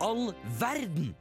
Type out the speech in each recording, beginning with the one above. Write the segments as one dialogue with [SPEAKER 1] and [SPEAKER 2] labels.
[SPEAKER 1] all verden?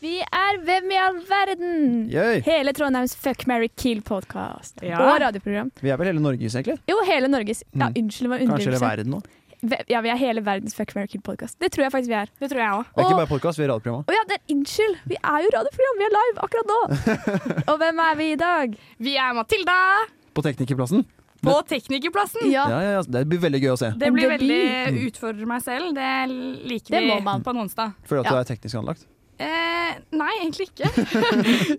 [SPEAKER 2] Vi er Hvem i all verden?
[SPEAKER 3] Yay.
[SPEAKER 2] Hele Trondheims Fuck, marry, kill-podkast.
[SPEAKER 4] Ja.
[SPEAKER 2] Og radioprogram.
[SPEAKER 3] Vi er vel hele Norges, egentlig?
[SPEAKER 2] Jo, hele Norges. Ja,
[SPEAKER 3] Mm.
[SPEAKER 2] unnskyld, det var
[SPEAKER 3] Kanskje hele
[SPEAKER 2] underdrivelse.
[SPEAKER 3] verden nå.
[SPEAKER 2] Ve- Ja, vi er hele verdens Fuck, marry, kill-podkast. Det tror jeg faktisk vi er.
[SPEAKER 4] Det tror jeg òg.
[SPEAKER 3] Det er
[SPEAKER 2] Og-
[SPEAKER 3] ikke bare podkast, vi er radioprogrammet.
[SPEAKER 2] Å ja, det er, unnskyld! Vi er jo radioprogram, vi er live akkurat nå. Og hvem er vi i dag?
[SPEAKER 4] Vi er Matilda
[SPEAKER 3] På Teknikerplassen.
[SPEAKER 4] på Teknikerplassen.
[SPEAKER 2] Ja,
[SPEAKER 3] Ja, ja, ja, Det blir veldig gøy å se.
[SPEAKER 4] Det blir
[SPEAKER 2] Det Mm.
[SPEAKER 4] veldig utfordre meg selv. Det liker
[SPEAKER 2] Det
[SPEAKER 4] vi
[SPEAKER 2] må man.
[SPEAKER 4] på en onsdag.
[SPEAKER 3] Føler at
[SPEAKER 2] Ja.
[SPEAKER 3] du er teknisk anlagt.
[SPEAKER 4] Eh, nei, egentlig ikke.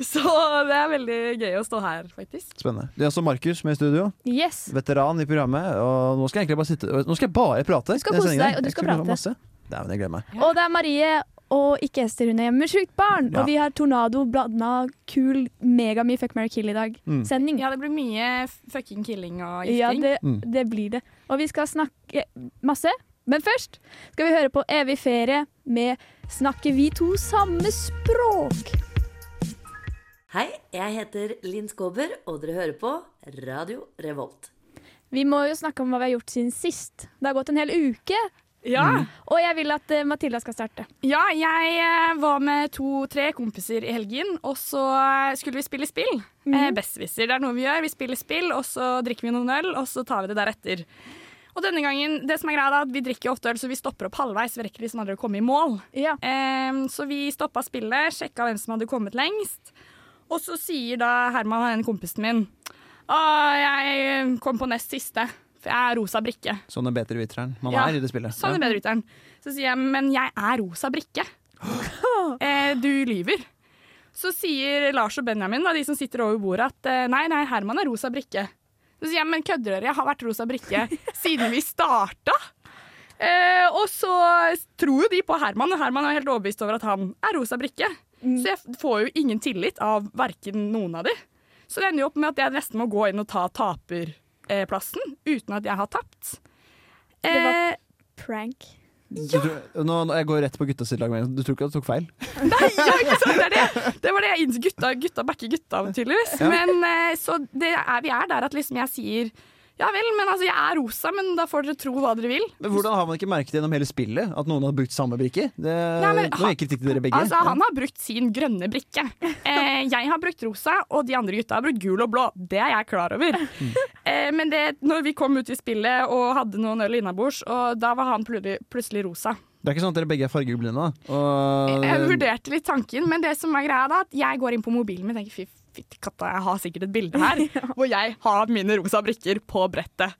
[SPEAKER 4] Så det er veldig gøy å stå her, faktisk.
[SPEAKER 3] Spennende. Det er også Markus med i studio.
[SPEAKER 2] yes.
[SPEAKER 3] Veteran i programmet. Og nå skal jeg egentlig bare sitte øh, Nå skal jeg bare prate.
[SPEAKER 2] Du skal
[SPEAKER 3] denne
[SPEAKER 2] kose
[SPEAKER 3] sendingen her.
[SPEAKER 2] deg, og du
[SPEAKER 3] Jeg
[SPEAKER 2] skal prate.
[SPEAKER 3] masse. Dæven, jeg gleder meg.
[SPEAKER 2] Og det er Marie og ikke Ester, hun er hjemme med sjukt barn.
[SPEAKER 3] Ja.
[SPEAKER 2] Og vi har Tornado blanda kul, megamye Fuck, marry, kill i dag.
[SPEAKER 3] Mm.
[SPEAKER 2] Sending.
[SPEAKER 4] Ja, det blir mye fucking killing og
[SPEAKER 2] Ja,
[SPEAKER 4] gifting.
[SPEAKER 2] det,
[SPEAKER 3] Mm.
[SPEAKER 2] det blir det. Og vi skal snakke masse. Men først skal vi høre på Evig ferie med Snakker vi to samme språk?
[SPEAKER 5] Hei, jeg heter Linn Skåber, og dere hører på Radio Revolt.
[SPEAKER 2] Vi må jo snakke om hva vi har gjort siden sist. Det har gått en hel uke.
[SPEAKER 4] Ja.
[SPEAKER 2] Og jeg vil at eh, Matilda skal starte.
[SPEAKER 4] ja, jeg eh, var med to-tre kompiser i helgen, og så eh, skulle vi spille spill. Eh, Besserwisser, det er noe vi gjør. Vi spiller spill, og så drikker vi noen øl, og så tar vi det deretter. Og denne gangen, det som er greia da, at vi drikker åtte øl, så vi stopper opp halvveis. Vi rekker liksom aldri å komme i mål.
[SPEAKER 2] Ja.
[SPEAKER 4] Ehm, så vi stoppa spillet, sjekka hvem som hadde kommet lengst. Og så sier da Herman, han ene kompisen min, å, jeg kom på nest siste, for jeg er rosa brikke.
[SPEAKER 3] Sånn er bedre viteren. Man
[SPEAKER 4] Ja,
[SPEAKER 3] er i det spillet.
[SPEAKER 4] Sånn er
[SPEAKER 3] Ja.
[SPEAKER 4] bedre utøveren. Så sier jeg, men jeg er rosa brikke. Eh, du lyver. Så sier Lars og Benjamin, da, de som sitter over bordet, at eh, nei, nei, Herman er rosa brikke. Så sier jeg, men kødder dere, jeg har vært rosa brikke siden vi starta. Eh, og så tror jo de på Herman, og Herman er helt overbevist over at han er rosa brikke.
[SPEAKER 2] Mm.
[SPEAKER 4] Så jeg får jo ingen tillit av verken noen av de. Så det ender jo opp med at jeg nesten må gå inn og ta taperplassen, uten at jeg har tapt.
[SPEAKER 2] Det var-
[SPEAKER 4] Eh,
[SPEAKER 2] Prank.
[SPEAKER 3] Du tror- Nå, nå, jeg går rett på guttas lag, men du tror ikke at du tok feil?
[SPEAKER 4] Ja, ikke sant? Det, er det. det var det jeg innså. Gutta, gutta backer gutta, tydeligvis.
[SPEAKER 3] Ja.
[SPEAKER 4] Men eh, så det er, vi er der at liksom jeg sier ja vel, men altså jeg er rosa, men da får dere tro hva dere vil.
[SPEAKER 3] Men Hvordan har man ikke merket gjennom hele spillet at noen har brukt samme brikke? Det,
[SPEAKER 4] men
[SPEAKER 3] nå
[SPEAKER 4] han-
[SPEAKER 3] gikk kritikk til dere begge.
[SPEAKER 4] Altså Han har brukt sin grønne brikke. Eh, jeg har brukt rosa, og de andre gutta har brukt gul og blå. Det er jeg klar over. Eh, men det, når vi kom ut i spillet og hadde noen øl innabords, og da var han plutselig, plutselig rosa.
[SPEAKER 3] Det er ikke sånn at dere begge er fargeblinde? da? Og,
[SPEAKER 4] Jeg vurderte litt tanken, men det som er greia da, at jeg går inn på mobilen min og tenker fy fytti katta, jeg har sikkert et bilde her hvor jeg har mine rosa brikker på brettet.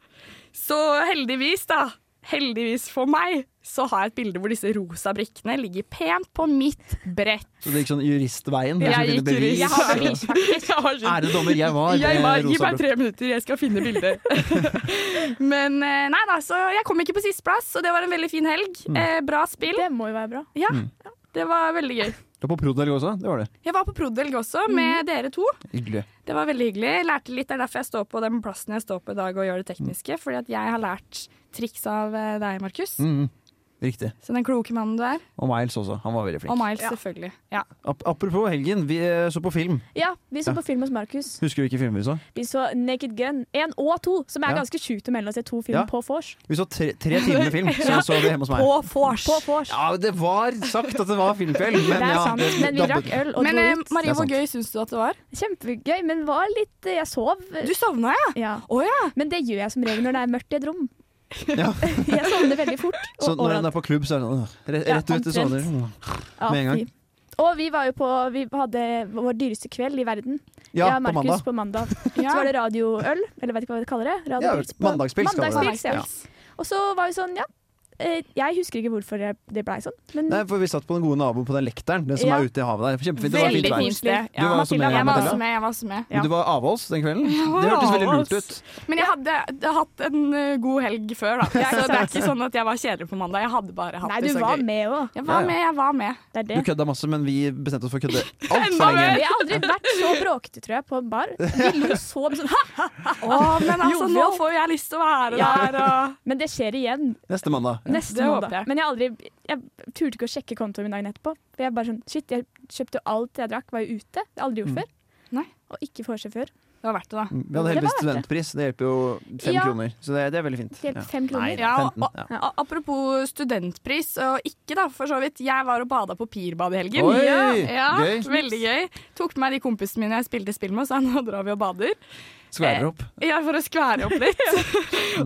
[SPEAKER 4] Så heldigvis, da, heldigvis for meg, så har jeg et bilde hvor disse rosa brikkene ligger pent på mitt brett.
[SPEAKER 3] Så det gikk sånn juristveien? dere
[SPEAKER 4] Jeg
[SPEAKER 3] skulle
[SPEAKER 4] gikk
[SPEAKER 3] finne bevis.
[SPEAKER 4] jurist. Jeg har bevis, faktisk. Jeg har sånn-
[SPEAKER 3] Ærede dommer, jeg var
[SPEAKER 4] jeg
[SPEAKER 3] eh,
[SPEAKER 4] bare, Gi
[SPEAKER 3] rosa
[SPEAKER 4] meg tre minutter, jeg skal finne bildet. Men eh, nei da, så jeg kom ikke på sisteplass, og det var en veldig fin helg.
[SPEAKER 3] Mm.
[SPEAKER 4] Eh, bra spill.
[SPEAKER 2] Det må jo være bra.
[SPEAKER 4] Ja, det var veldig gøy.
[SPEAKER 3] Du var på Prodelg også? Det var det.
[SPEAKER 4] Jeg var på Prodelg også, med dere to.
[SPEAKER 3] Hyggelig.
[SPEAKER 4] Det var veldig hyggelig. Jeg lærte litt, Det er derfor jeg står på den plassen jeg står på i dag og gjør det tekniske. Fordi at jeg har lært triks av eh, deg, Markus.
[SPEAKER 3] Mm, riktig.
[SPEAKER 4] Så den kloke mannen du er.
[SPEAKER 3] Og Miles også. Han var veldig flink.
[SPEAKER 4] Og Miles, selvfølgelig. Ja.
[SPEAKER 3] Ap apropos helgen, vi eh, så på film.
[SPEAKER 2] Ja, Vi så på film hos Markus.
[SPEAKER 3] Husker du hvilke filmer vi så?
[SPEAKER 2] Vi så Naked Gun 1 og 2, som er
[SPEAKER 3] Ja.
[SPEAKER 2] ganske sjukt å melde å se to film
[SPEAKER 3] Ja.
[SPEAKER 2] på vors.
[SPEAKER 3] Vi så tre, tre timer med film, så så vi hjemme hos meg.
[SPEAKER 4] På vors.
[SPEAKER 2] På vors.
[SPEAKER 3] Ja, det var sagt at det var filmkveld, men
[SPEAKER 2] det er
[SPEAKER 3] ja,
[SPEAKER 2] sant. Men vi
[SPEAKER 3] dabbet.
[SPEAKER 2] drakk øl og
[SPEAKER 4] Men
[SPEAKER 2] dro
[SPEAKER 4] eh,
[SPEAKER 2] ut.
[SPEAKER 4] Marie,
[SPEAKER 3] Det er
[SPEAKER 4] hvor
[SPEAKER 3] sant.
[SPEAKER 4] gøy syns du at det var?
[SPEAKER 2] Kjempegøy, men var litt eh, Jeg sov. eh,
[SPEAKER 4] Du sovna, ja?
[SPEAKER 2] Ja.
[SPEAKER 4] Å ja.
[SPEAKER 2] Men det gjør jeg som regel når det er mørkt i et rom.
[SPEAKER 3] Ja.
[SPEAKER 2] Jeg sovner veldig fort. Og
[SPEAKER 3] Så når
[SPEAKER 2] overalt.
[SPEAKER 3] en er på klubb, så er det sånn øh, rett,
[SPEAKER 2] Ja,
[SPEAKER 3] rett ut i
[SPEAKER 2] omtrent.
[SPEAKER 3] sånne
[SPEAKER 2] Ja,
[SPEAKER 3] med en gang.
[SPEAKER 2] ah, fy. Og vi var jo på Vi hadde vår dyreste kveld i verden.
[SPEAKER 3] Ja,
[SPEAKER 2] Jeg og
[SPEAKER 3] på
[SPEAKER 2] Markus
[SPEAKER 3] mandag.
[SPEAKER 2] på mandag.
[SPEAKER 4] Ja.
[SPEAKER 2] Så var det radioøl, eller vet ikke hva vi kaller det.
[SPEAKER 3] Ja,
[SPEAKER 2] Radiopils på-
[SPEAKER 3] mandagspils kaller vi det.
[SPEAKER 2] mandagspils, ja. Og så var vi sånn, ja. eh, jeg husker ikke hvorfor jeg- det blei sånn. Men
[SPEAKER 3] Nei, for Vi satt på den gode naboen på den lekteren, den som
[SPEAKER 2] Ja.
[SPEAKER 3] er ute i havet der. Kjempefint. Det var
[SPEAKER 4] Veldig
[SPEAKER 3] fint vær.
[SPEAKER 4] fint sted.
[SPEAKER 3] Du var også
[SPEAKER 2] Matilda,
[SPEAKER 3] med,
[SPEAKER 4] Jeg var
[SPEAKER 3] Matilda.
[SPEAKER 4] også med. jeg var også med.
[SPEAKER 2] Ja.
[SPEAKER 3] Du var av oss den kvelden.
[SPEAKER 4] var
[SPEAKER 3] Det hørtes veldig
[SPEAKER 4] av
[SPEAKER 3] lurt
[SPEAKER 4] oss.
[SPEAKER 3] ut.
[SPEAKER 4] Men jeg hadde, jeg hadde hatt en ø, god helg før, da. Jeg, så det er ikke sånn at jeg var kjedelig på mandag. Jeg hadde bare hatt
[SPEAKER 2] Nei,
[SPEAKER 4] det
[SPEAKER 2] du
[SPEAKER 4] så
[SPEAKER 2] var
[SPEAKER 4] gøy.
[SPEAKER 2] med òg.
[SPEAKER 4] Jeg
[SPEAKER 3] Ja, ja.
[SPEAKER 4] var med, jeg var med.
[SPEAKER 2] Det er
[SPEAKER 3] Du
[SPEAKER 2] det.
[SPEAKER 3] kødda masse, men vi bestemte oss for å kødde altfor
[SPEAKER 4] Enda mer!
[SPEAKER 3] lenge.
[SPEAKER 2] Vi har aldri vært så bråkete, tror jeg, på en bar. Vi lo så mye sånn ha!
[SPEAKER 4] Å, men altså, nå
[SPEAKER 2] Jovial.
[SPEAKER 4] får jeg lyst til å være
[SPEAKER 2] Ja.
[SPEAKER 4] der og
[SPEAKER 2] Men det skjer igjen
[SPEAKER 3] Neste mandag.
[SPEAKER 2] neste
[SPEAKER 4] det håper
[SPEAKER 2] måned.
[SPEAKER 4] jeg.
[SPEAKER 2] Men jeg, har aldri, jeg turte ikke å sjekke kontoen min dagen etterpå. For jeg bare sånn, shit, jeg kjøpte jo alt jeg drakk, var jo ute. Det har jeg aldri gjort
[SPEAKER 3] Mm.
[SPEAKER 2] før.
[SPEAKER 4] Nei.
[SPEAKER 2] Og ikke får seg før.
[SPEAKER 4] Det var verdt det, da.
[SPEAKER 3] Vi hadde
[SPEAKER 2] Det var
[SPEAKER 3] heldigvis
[SPEAKER 2] verdt det.
[SPEAKER 3] studentpris. Det hjelper jo fem
[SPEAKER 2] Ja.
[SPEAKER 3] kroner. Så det, det er veldig fint.
[SPEAKER 2] Det hjelper fem kroner.
[SPEAKER 3] Nei,
[SPEAKER 4] Ja, og-
[SPEAKER 3] 15, ja.
[SPEAKER 4] A- Apropos studentpris, og ikke da, for så vidt. Jeg var og bada på Pirbad i helgen.
[SPEAKER 3] Oi,
[SPEAKER 4] ja,
[SPEAKER 3] gøy.
[SPEAKER 4] Veldig gøy. Tok med meg de kompisene mine jeg spilte spill med, og sa nå drar vi og bader.
[SPEAKER 3] Skværer opp.
[SPEAKER 4] Ja, for å skvære opp litt.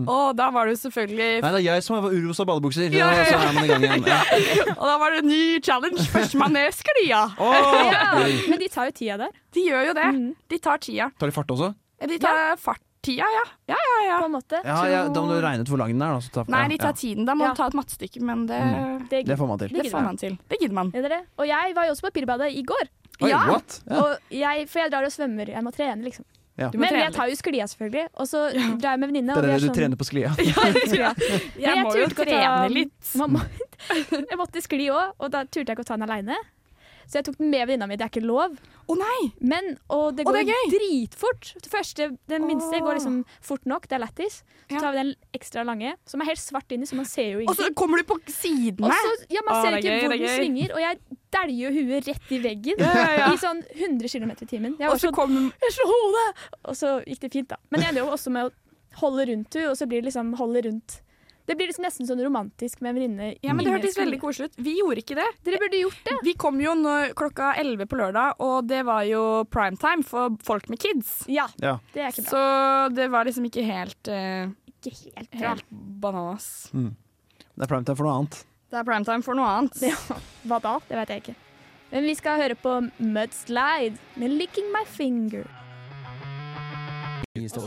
[SPEAKER 4] og da var det jo selvfølgelig
[SPEAKER 3] Nei, det er jeg som har urosa badebukser.
[SPEAKER 4] Ja, ja, ja.
[SPEAKER 3] Så er man i gang igjen. Ja.
[SPEAKER 4] Og da var det en ny challenge. Førstemann ned sklia.
[SPEAKER 3] Åh,
[SPEAKER 2] Ja,
[SPEAKER 3] gøy.
[SPEAKER 2] men de tar jo tida der,
[SPEAKER 4] De gjør jo det.
[SPEAKER 2] Mm.
[SPEAKER 4] De tar tida. Eh,
[SPEAKER 3] Tar de fart også?
[SPEAKER 4] De tar farttida, ja. ja, ja, ja.
[SPEAKER 2] på en måte.
[SPEAKER 3] Ja, ja, Da må du regne ut hvor lang den er. Da, så ta,
[SPEAKER 4] Nei, de tar
[SPEAKER 3] ja. Mm.
[SPEAKER 4] tiden. Da må
[SPEAKER 2] Ja.
[SPEAKER 4] du ta et mattestykke, men det,
[SPEAKER 2] Det,
[SPEAKER 3] Det får man til.
[SPEAKER 2] Det
[SPEAKER 4] det
[SPEAKER 2] gidder
[SPEAKER 4] får
[SPEAKER 2] man.
[SPEAKER 4] man til. Det gidder man.
[SPEAKER 2] Gjør dere? Og jeg var jo også på Pirbadet i går.
[SPEAKER 3] Oi,
[SPEAKER 4] Ja.
[SPEAKER 3] what? Ja.
[SPEAKER 2] Og jeg, for jeg drar og svømmer. Jeg må trene, liksom.
[SPEAKER 3] Ja.
[SPEAKER 4] Du må
[SPEAKER 2] Men
[SPEAKER 4] trene
[SPEAKER 2] jeg tar jo sklia, selvfølgelig. Og så drar jeg med venninne. og
[SPEAKER 3] Det er
[SPEAKER 2] vi
[SPEAKER 3] det du
[SPEAKER 2] sånn-
[SPEAKER 3] trener på sklia.
[SPEAKER 2] sklia. Men
[SPEAKER 4] litt. Jeg må jo
[SPEAKER 2] turte ikke å
[SPEAKER 4] trene
[SPEAKER 2] ta-
[SPEAKER 4] litt.
[SPEAKER 2] Man må, jeg måtte skli òg, og da turte jeg ikke å ta den aleine. Så jeg tok den med venninna mi. Det er ikke lov.
[SPEAKER 4] Å nei!
[SPEAKER 2] Men, og det
[SPEAKER 4] Å,
[SPEAKER 2] går
[SPEAKER 4] det er gøy!
[SPEAKER 2] dritfort. Det første, den minste
[SPEAKER 4] Åh.
[SPEAKER 2] går liksom fort nok. Det er lættis. Så
[SPEAKER 4] Ja.
[SPEAKER 2] tar vi den ekstra lange, som er helt svart inni, så man ser jo
[SPEAKER 4] Og så
[SPEAKER 2] ingenting.
[SPEAKER 4] kommer du på sidene.
[SPEAKER 2] Og så- ja, man
[SPEAKER 4] Å,
[SPEAKER 2] ser
[SPEAKER 4] det er
[SPEAKER 2] ikke
[SPEAKER 4] gøy,
[SPEAKER 2] hvor
[SPEAKER 4] det
[SPEAKER 2] den
[SPEAKER 4] er gøy.
[SPEAKER 2] svinger, og jeg dæljer jo huet rett i veggen
[SPEAKER 4] Ja, ja, ja.
[SPEAKER 2] i sånn 100 km i timen. Jeg var
[SPEAKER 4] Og så
[SPEAKER 2] sånn
[SPEAKER 4] kommer
[SPEAKER 2] jeg slår hodet! Og så gikk det fint, da. Men jeg ender jo også med å holde rundt henne, og så blir det liksom holde rundt. Det blir liksom nesten sånn romantisk med en venninne.
[SPEAKER 4] Ja, men Det
[SPEAKER 2] inni
[SPEAKER 4] hørtes
[SPEAKER 2] skolen.
[SPEAKER 4] veldig koselig ut. Vi gjorde ikke det.
[SPEAKER 2] Dere burde gjort det.
[SPEAKER 4] Vi kom jo nå klokka 11 på lørdag, og det var jo prime time for folk med kids.
[SPEAKER 2] Ja,
[SPEAKER 3] Ja.
[SPEAKER 2] det er ikke bra.
[SPEAKER 4] Så det var liksom ikke helt, eh,
[SPEAKER 2] ikke helt bra.
[SPEAKER 4] helt bananas.
[SPEAKER 3] Det er prime time for noe annet.
[SPEAKER 4] Det er prime time for noe annet.
[SPEAKER 2] Ja, hva da? Det vet jeg ikke. Men vi skal høre på Mudslide med 'Licking My Finger'.
[SPEAKER 6] Altså,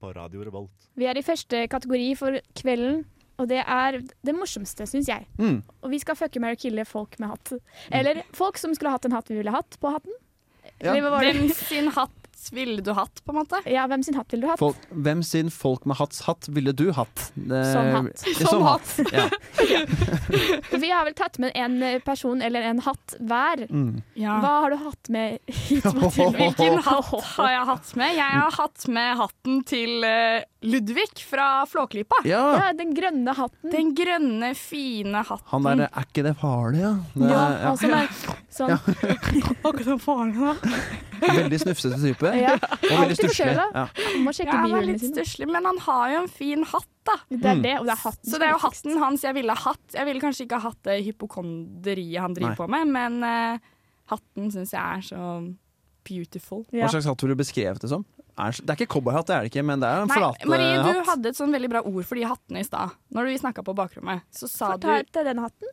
[SPEAKER 1] på Radio Revolt.
[SPEAKER 2] Vi er i første kategori for kvelden, og det er det morsomste, syns jeg.
[SPEAKER 3] Mm.
[SPEAKER 2] Og vi skal fucke med å kille folk med hatt. Eller folk som skulle hatt en hatt vi ville hatt, på hatten.
[SPEAKER 3] Ja.
[SPEAKER 2] Eller hva var det?
[SPEAKER 4] Hvem sin hatt ville du hatt, på en måte?
[SPEAKER 2] Ja, hvem sin hatt ville du hatt?
[SPEAKER 3] Folk, hvem sin folk med hatts hatt ville du hatt? Det-
[SPEAKER 2] Som hatt.
[SPEAKER 3] Ja,
[SPEAKER 4] Som
[SPEAKER 3] som hatt. Ja.
[SPEAKER 2] Vi har vel tatt med en eh, person eller en hatt hver.
[SPEAKER 3] Mm.
[SPEAKER 4] Ja.
[SPEAKER 2] Hva har du hatt med hit, Mathilde?
[SPEAKER 4] Hvilken hatt har jeg hatt med? Jeg har hatt med hatten til eh, Ludvig fra Flåklypa.
[SPEAKER 3] ja.
[SPEAKER 2] Ja, den grønne hatten.
[SPEAKER 4] Den grønne, fine hatten.
[SPEAKER 3] Han derre Er ikke det farlig, ja? Det,
[SPEAKER 2] Mm. Ja,
[SPEAKER 3] ja.
[SPEAKER 2] han som er sånn.
[SPEAKER 3] eh,
[SPEAKER 4] Akkurat faren da.
[SPEAKER 3] Veldig snufsete type.
[SPEAKER 2] Ja.
[SPEAKER 3] Og veldig
[SPEAKER 2] Alltid
[SPEAKER 3] stusslig.
[SPEAKER 2] forkjøla.
[SPEAKER 3] Ja.
[SPEAKER 2] Må sjekke
[SPEAKER 4] Ja, han er
[SPEAKER 2] bihulene
[SPEAKER 4] litt
[SPEAKER 2] sine.
[SPEAKER 4] stusslig, men han har jo en fin hatt, da.
[SPEAKER 2] Det
[SPEAKER 3] Mm.
[SPEAKER 2] er det, og det er hatten.
[SPEAKER 4] Så
[SPEAKER 2] som
[SPEAKER 4] det er jo
[SPEAKER 2] viktigst.
[SPEAKER 4] hatten hans jeg ville hatt. Jeg ville kanskje ikke hatt det hypokonderiet han driver
[SPEAKER 3] Nei.
[SPEAKER 4] på med, men eh, hatten syns jeg er så beautiful.
[SPEAKER 2] Ja.
[SPEAKER 3] Hva slags hatt ville du beskrevet det som? Er, det er ikke cowboyhatt, det er det ikke, men det er en eh,
[SPEAKER 4] Nei, Marie, du
[SPEAKER 3] flathatt.
[SPEAKER 4] hadde et sånn veldig bra ord for de hattene i stad. Når vi snakka på bakrommet, så sa du
[SPEAKER 2] Fortalte jeg den hatten?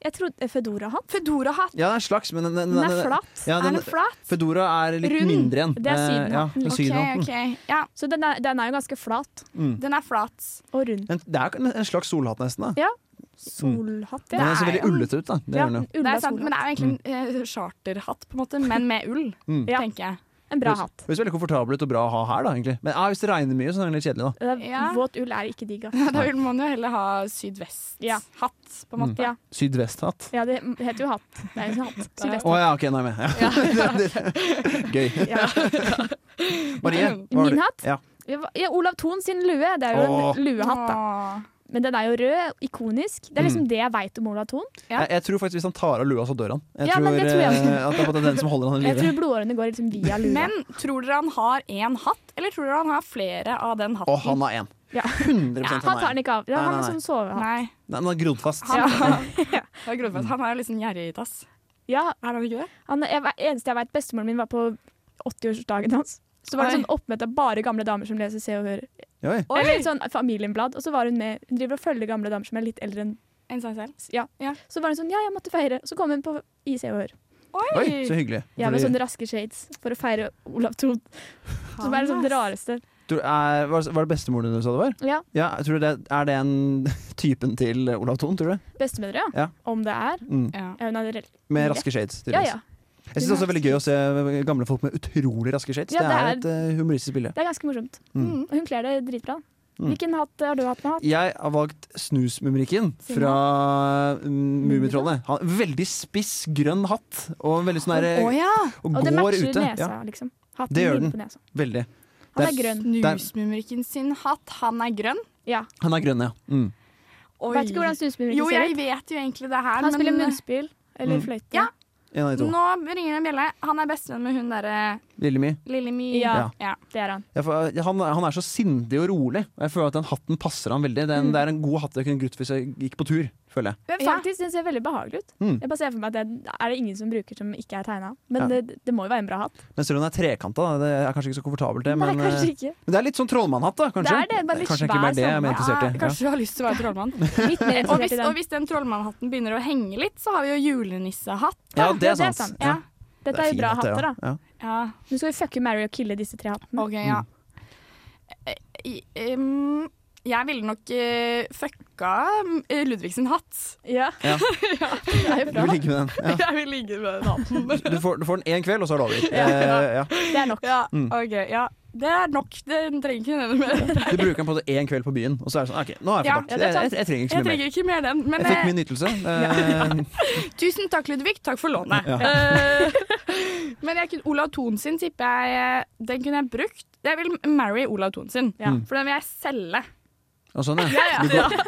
[SPEAKER 2] Jeg trodde eh, Fedora-hatt.
[SPEAKER 4] Fedorahatt.
[SPEAKER 3] Ja, det er en slags, men den, den,
[SPEAKER 2] Den er flat.
[SPEAKER 3] Ja,
[SPEAKER 4] Er
[SPEAKER 3] den,
[SPEAKER 4] den flat?
[SPEAKER 3] Fedora er litt
[SPEAKER 4] Rund.
[SPEAKER 3] mindre enn.
[SPEAKER 2] Det er
[SPEAKER 3] eh, ja,
[SPEAKER 2] sydenhatten.
[SPEAKER 3] den
[SPEAKER 4] OK,
[SPEAKER 3] sydenhatten.
[SPEAKER 4] OK. Ja,
[SPEAKER 2] Så den er, den er jo ganske flat
[SPEAKER 4] den er flat.
[SPEAKER 2] og rund.
[SPEAKER 3] Men Det er en- en slags solhatt, nesten. da
[SPEAKER 2] Ja. Solhatt,
[SPEAKER 3] Den
[SPEAKER 2] ja.
[SPEAKER 3] er så
[SPEAKER 4] er
[SPEAKER 3] veldig
[SPEAKER 4] jo-
[SPEAKER 3] ullete ut, da. Det
[SPEAKER 2] ja
[SPEAKER 3] gjør den jo.
[SPEAKER 4] Det
[SPEAKER 2] ulla
[SPEAKER 4] er sant, men
[SPEAKER 2] solhatt.
[SPEAKER 4] det er jo egentlig en eh, charterhatt, på en måte, men med ull,
[SPEAKER 3] Mm.
[SPEAKER 2] Ja.
[SPEAKER 4] tenker jeg.
[SPEAKER 2] En bra hatt.
[SPEAKER 3] Høres veldig komfortabel ut og bra å ha her, da, egentlig. Men ja, hvis det regner mye, så er den litt kjedelig, da.
[SPEAKER 2] Det er-
[SPEAKER 4] Ja.
[SPEAKER 2] Våt ull er ikke digg, ass.
[SPEAKER 4] Da vil man jo heller ha
[SPEAKER 2] Ja.
[SPEAKER 4] sydvest-hatt, på en måte.
[SPEAKER 2] Ja.
[SPEAKER 3] Sydvesthatt.
[SPEAKER 2] ja, det heter jo hatt. Det er jo en hatt.
[SPEAKER 3] Å ja, OK, nå er jeg med. Ja. Gøy.
[SPEAKER 2] Ja.
[SPEAKER 3] Marie, hva har
[SPEAKER 2] Min
[SPEAKER 3] du-
[SPEAKER 2] hatt?
[SPEAKER 3] Ja.
[SPEAKER 2] Ja, Olav Thon sin lue. Det er jo
[SPEAKER 3] Åh.
[SPEAKER 2] en luehatt, da.
[SPEAKER 4] Åh.
[SPEAKER 2] Men den er jo rød, ikonisk. Det er
[SPEAKER 3] Mm.
[SPEAKER 2] liksom det jeg veit om Olav Thon.
[SPEAKER 4] Ja.
[SPEAKER 3] Jeg, jeg tror faktisk hvis han tar av lua, så dør han. Jeg
[SPEAKER 2] Ja,
[SPEAKER 3] tror,
[SPEAKER 2] men det tror jeg også.
[SPEAKER 3] eh, at det er på en måte den som holder han i
[SPEAKER 2] Jeg
[SPEAKER 3] live.
[SPEAKER 2] tror blodårene går liksom via lua.
[SPEAKER 4] Men tror dere han har én hatt, eller tror dere han har flere av den hatten?
[SPEAKER 3] Og han har én.
[SPEAKER 2] Ja.
[SPEAKER 3] 100
[SPEAKER 2] ja, han
[SPEAKER 3] han
[SPEAKER 2] tar
[SPEAKER 3] har
[SPEAKER 2] den
[SPEAKER 3] én.
[SPEAKER 2] ikke av. Ja,
[SPEAKER 3] Nei,
[SPEAKER 2] han
[SPEAKER 3] nei,
[SPEAKER 2] er
[SPEAKER 3] nei.
[SPEAKER 2] sånn sovehatt.
[SPEAKER 4] Nei.
[SPEAKER 3] Nei, Den har grodd fast.
[SPEAKER 4] Han, Det er grovt, han er jo liksom gjerrig i tass.
[SPEAKER 2] Ja,
[SPEAKER 4] Er han ikke det?
[SPEAKER 2] han, jeg, eneste jeg veit, bestemoren min var på 80-årsdagen hans. Så var det
[SPEAKER 4] Oi.
[SPEAKER 2] sånn oppmøte av bare gamle damer som leser Se og Hør.
[SPEAKER 3] Oi.
[SPEAKER 2] Eller sånn Familienblad. Og så var hun med Hun driver og følger gamle damer som er litt eldre enn
[SPEAKER 4] En seg selv.
[SPEAKER 2] Ja.
[SPEAKER 4] Ja.
[SPEAKER 2] Så var hun sånn Ja, jeg måtte feire. Så kom hun på i Se og Hør.
[SPEAKER 3] Oi, så hyggelig.
[SPEAKER 2] Ja, med
[SPEAKER 3] Fordi-
[SPEAKER 2] sånne raske shades for å feire Olav Thon. Som er det sånn
[SPEAKER 4] Han,
[SPEAKER 2] det rareste.
[SPEAKER 3] Tror, er, var, var det bestemoren din du sa det var?
[SPEAKER 2] Ja,
[SPEAKER 3] Ja, jeg tror det, Er det en typen til Olav Thon, tror du?
[SPEAKER 2] bestemødre, ja.
[SPEAKER 3] Ja.
[SPEAKER 2] Om det er.
[SPEAKER 3] Mm.
[SPEAKER 4] Ja.
[SPEAKER 2] Ja, hun er rel-
[SPEAKER 3] Med raske shades.
[SPEAKER 2] ja,
[SPEAKER 3] tydeligvis.
[SPEAKER 2] ja.
[SPEAKER 3] Jeg syns også det er veldig gøy å se gamle folk med utrolig raske shades.
[SPEAKER 2] Ja,
[SPEAKER 3] det, er et
[SPEAKER 2] det
[SPEAKER 3] eh, humoristisk bilde.
[SPEAKER 2] Det er ganske morsomt.
[SPEAKER 3] Mm.
[SPEAKER 2] Og hun kler det dritbra.
[SPEAKER 3] Mm.
[SPEAKER 2] Hvilken hatt har du hatt med hatt?
[SPEAKER 3] Jeg har valgt snusmumrikken fra mm, Mummitrollene. Han- Veldig spiss, grønn hatt og veldig sånn derre
[SPEAKER 4] Å ja!
[SPEAKER 3] Og
[SPEAKER 2] Og det
[SPEAKER 3] går
[SPEAKER 2] matcher
[SPEAKER 3] ute.
[SPEAKER 2] nesa,
[SPEAKER 3] Ja,
[SPEAKER 2] liksom. Hatten
[SPEAKER 3] Det gjør
[SPEAKER 2] ligner
[SPEAKER 3] den.
[SPEAKER 2] på nesa.
[SPEAKER 3] veldig.
[SPEAKER 2] Han er
[SPEAKER 3] Det er
[SPEAKER 2] grønn.
[SPEAKER 4] Snusmumrikken sin hatt, han er grønn.
[SPEAKER 2] Ja.
[SPEAKER 3] Han er grønn, ja. Mm.
[SPEAKER 4] Oi.
[SPEAKER 2] Vet ikke hvordan
[SPEAKER 4] Jo,
[SPEAKER 2] snusmumrikken ser
[SPEAKER 4] jeg
[SPEAKER 2] ut.
[SPEAKER 4] vet jo egentlig det her,
[SPEAKER 2] Han spiller
[SPEAKER 4] men
[SPEAKER 2] munnspill eller
[SPEAKER 3] Mm.
[SPEAKER 2] fløyte.
[SPEAKER 4] Ja.
[SPEAKER 3] En av de to.
[SPEAKER 4] nå ringer det en bjelle. Han er bestevenn med hun derre
[SPEAKER 3] Lille My.
[SPEAKER 4] Lille My.
[SPEAKER 2] Ja.
[SPEAKER 4] Ja.
[SPEAKER 2] Det er han.
[SPEAKER 3] Jeg får- eh, Han, han er så sindig og rolig. Og Jeg føler at den hatten passer ham
[SPEAKER 2] Mm.
[SPEAKER 3] veldig. Det er en, det er en god hatt jeg kunne brukt hvis jeg gikk på tur, føler jeg.
[SPEAKER 4] Men
[SPEAKER 2] Men
[SPEAKER 4] faktisk,
[SPEAKER 2] faktisk, den ser veldig behagelig ut.
[SPEAKER 3] Mm.
[SPEAKER 2] Jeg bare ser for meg at det er det ingen som bruker som ikke er tegna. Men
[SPEAKER 3] Ja.
[SPEAKER 2] det, det må jo være en bra hatt.
[SPEAKER 3] Men selv om den er trekanta, da, det er kanskje ikke så komfortabelt, det. Men,
[SPEAKER 2] Nei, kanskje
[SPEAKER 3] eh,
[SPEAKER 2] ikke.
[SPEAKER 3] men det er litt sånn trollmannhatt, da, kanskje.
[SPEAKER 2] Det er det, bare litt
[SPEAKER 3] kanskje
[SPEAKER 2] svær sånn.
[SPEAKER 3] bare det jeg er mer
[SPEAKER 4] ja,
[SPEAKER 3] interessert i. Ja.
[SPEAKER 4] Ah, kanskje du har lyst til å være trollmann.
[SPEAKER 2] Litt mer
[SPEAKER 4] og,
[SPEAKER 2] interessert
[SPEAKER 4] hvis,
[SPEAKER 2] i
[SPEAKER 4] og
[SPEAKER 2] den.
[SPEAKER 4] hvis den trollmannhatten begynner å henge litt, så har vi jo julenissehatt.
[SPEAKER 3] Ja, det
[SPEAKER 2] Ja,
[SPEAKER 3] er sant. Ja.
[SPEAKER 2] Dette er jo
[SPEAKER 3] fin
[SPEAKER 2] bra
[SPEAKER 3] hatt, det,
[SPEAKER 2] hatter,
[SPEAKER 3] ja.
[SPEAKER 2] da.
[SPEAKER 3] Ja.
[SPEAKER 4] Ja.
[SPEAKER 2] Nå skal vi fucke Mary og kille disse tre hattene.
[SPEAKER 3] Mm.
[SPEAKER 4] OK, ja. Eh, i- em, jeg ville nok eh, fucka eh, Ludvig sin hatt.
[SPEAKER 2] Ja.
[SPEAKER 3] Ja.
[SPEAKER 2] Det er jo
[SPEAKER 3] Du
[SPEAKER 2] bra.
[SPEAKER 3] vil ligge med den.
[SPEAKER 4] Jeg vil ligge med den hatten.
[SPEAKER 3] Ja. Du, får, du får den én kveld, og så er det over. Eh, ja.
[SPEAKER 2] Det er nok.
[SPEAKER 4] Ja,
[SPEAKER 3] Mm.
[SPEAKER 4] OK. Ja. Det er nok. Den trenger ikke nevne mer.
[SPEAKER 3] Du bruker den på det én kveld på byen, og så er det sånn OK, nå har jeg
[SPEAKER 2] ja,
[SPEAKER 3] fått
[SPEAKER 4] Ja,
[SPEAKER 3] nok.
[SPEAKER 2] det er
[SPEAKER 3] Jeg,
[SPEAKER 2] sant.
[SPEAKER 3] jeg, jeg trenger ikke så
[SPEAKER 4] Jeg
[SPEAKER 3] mye mer.
[SPEAKER 4] trenger ikke mer den. Men
[SPEAKER 3] Jeg fikk
[SPEAKER 4] eh,
[SPEAKER 3] min nytelse. Eh,
[SPEAKER 4] tusen takk, Ludvig. Takk for lånet.
[SPEAKER 3] Ja.
[SPEAKER 4] Eh, men jeg kunne, Olav Thon sin tipper jeg eh, Den kunne jeg brukt. Jeg vil marry Olav Thon sin,
[SPEAKER 2] Ja.
[SPEAKER 3] Mm.
[SPEAKER 4] for den vil jeg selge.
[SPEAKER 3] og sånn, ja.
[SPEAKER 4] Ja, ja.
[SPEAKER 3] Du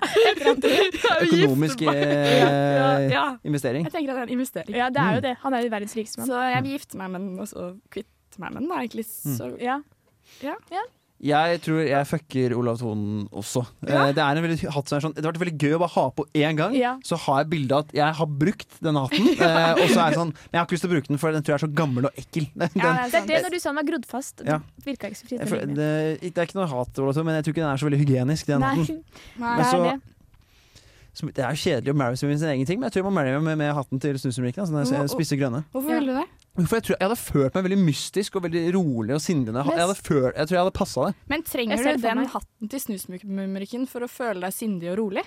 [SPEAKER 3] går,
[SPEAKER 4] Jeg vil
[SPEAKER 3] økonomisk
[SPEAKER 4] gifte meg. Ja,
[SPEAKER 3] eh,
[SPEAKER 4] ja.
[SPEAKER 3] investering.
[SPEAKER 4] Jeg tenker at det er en investering.
[SPEAKER 2] Ja, det
[SPEAKER 3] Mm.
[SPEAKER 2] er jo det. Han er jo verdens rikeste mann.
[SPEAKER 4] Så jeg vil gifte meg med den, og så kvitte meg med den. Det er egentlig
[SPEAKER 3] Mm.
[SPEAKER 4] så
[SPEAKER 2] Ja.
[SPEAKER 3] Jeg tror jeg fucker Olav Thon også. Eh, Det er en veldig hatt som er sånn Det hadde vært veldig gøy å bare ha på én gang.
[SPEAKER 2] Ja.
[SPEAKER 3] Så har jeg bilde av at jeg har brukt denne hatten. eh, Og så er jeg sånn Men jeg har ikke lyst til å bruke den, for den tror jeg er så gammel og ekkel. Den,
[SPEAKER 2] Det
[SPEAKER 4] Ja, det er
[SPEAKER 2] er
[SPEAKER 4] sant.
[SPEAKER 2] det når du sa den var grodd fast.
[SPEAKER 3] Ja.
[SPEAKER 2] Det virka ikke så fint.
[SPEAKER 3] jeg føler-
[SPEAKER 2] Nei.
[SPEAKER 3] det, det er ikke noe hat, Olav Thon, men jeg tror ikke den er Altså, så veldig hygienisk. Den hatten.
[SPEAKER 2] Det
[SPEAKER 4] Nei.
[SPEAKER 3] Men
[SPEAKER 2] er
[SPEAKER 3] så-
[SPEAKER 2] det.
[SPEAKER 3] Som- Det er jo kjedelig å marry seg med sin egen ting, men jeg tror jeg må marry meg med, med hatten til snusmumrikken. Altså, den der spisse grønne.
[SPEAKER 4] Hvorfor
[SPEAKER 2] Ja.
[SPEAKER 4] ville du det?
[SPEAKER 3] Hvorfor jeg, tror, jeg hadde følt meg veldig mystisk og veldig rolig og sindig. når Jeg, jeg, hadde følt, jeg tror jeg hadde passa det.
[SPEAKER 4] Men trenger
[SPEAKER 2] Jeg ser
[SPEAKER 4] du
[SPEAKER 2] det for
[SPEAKER 4] den
[SPEAKER 2] meg.
[SPEAKER 4] hatten til snusmumrikken for å føle deg sindig og rolig?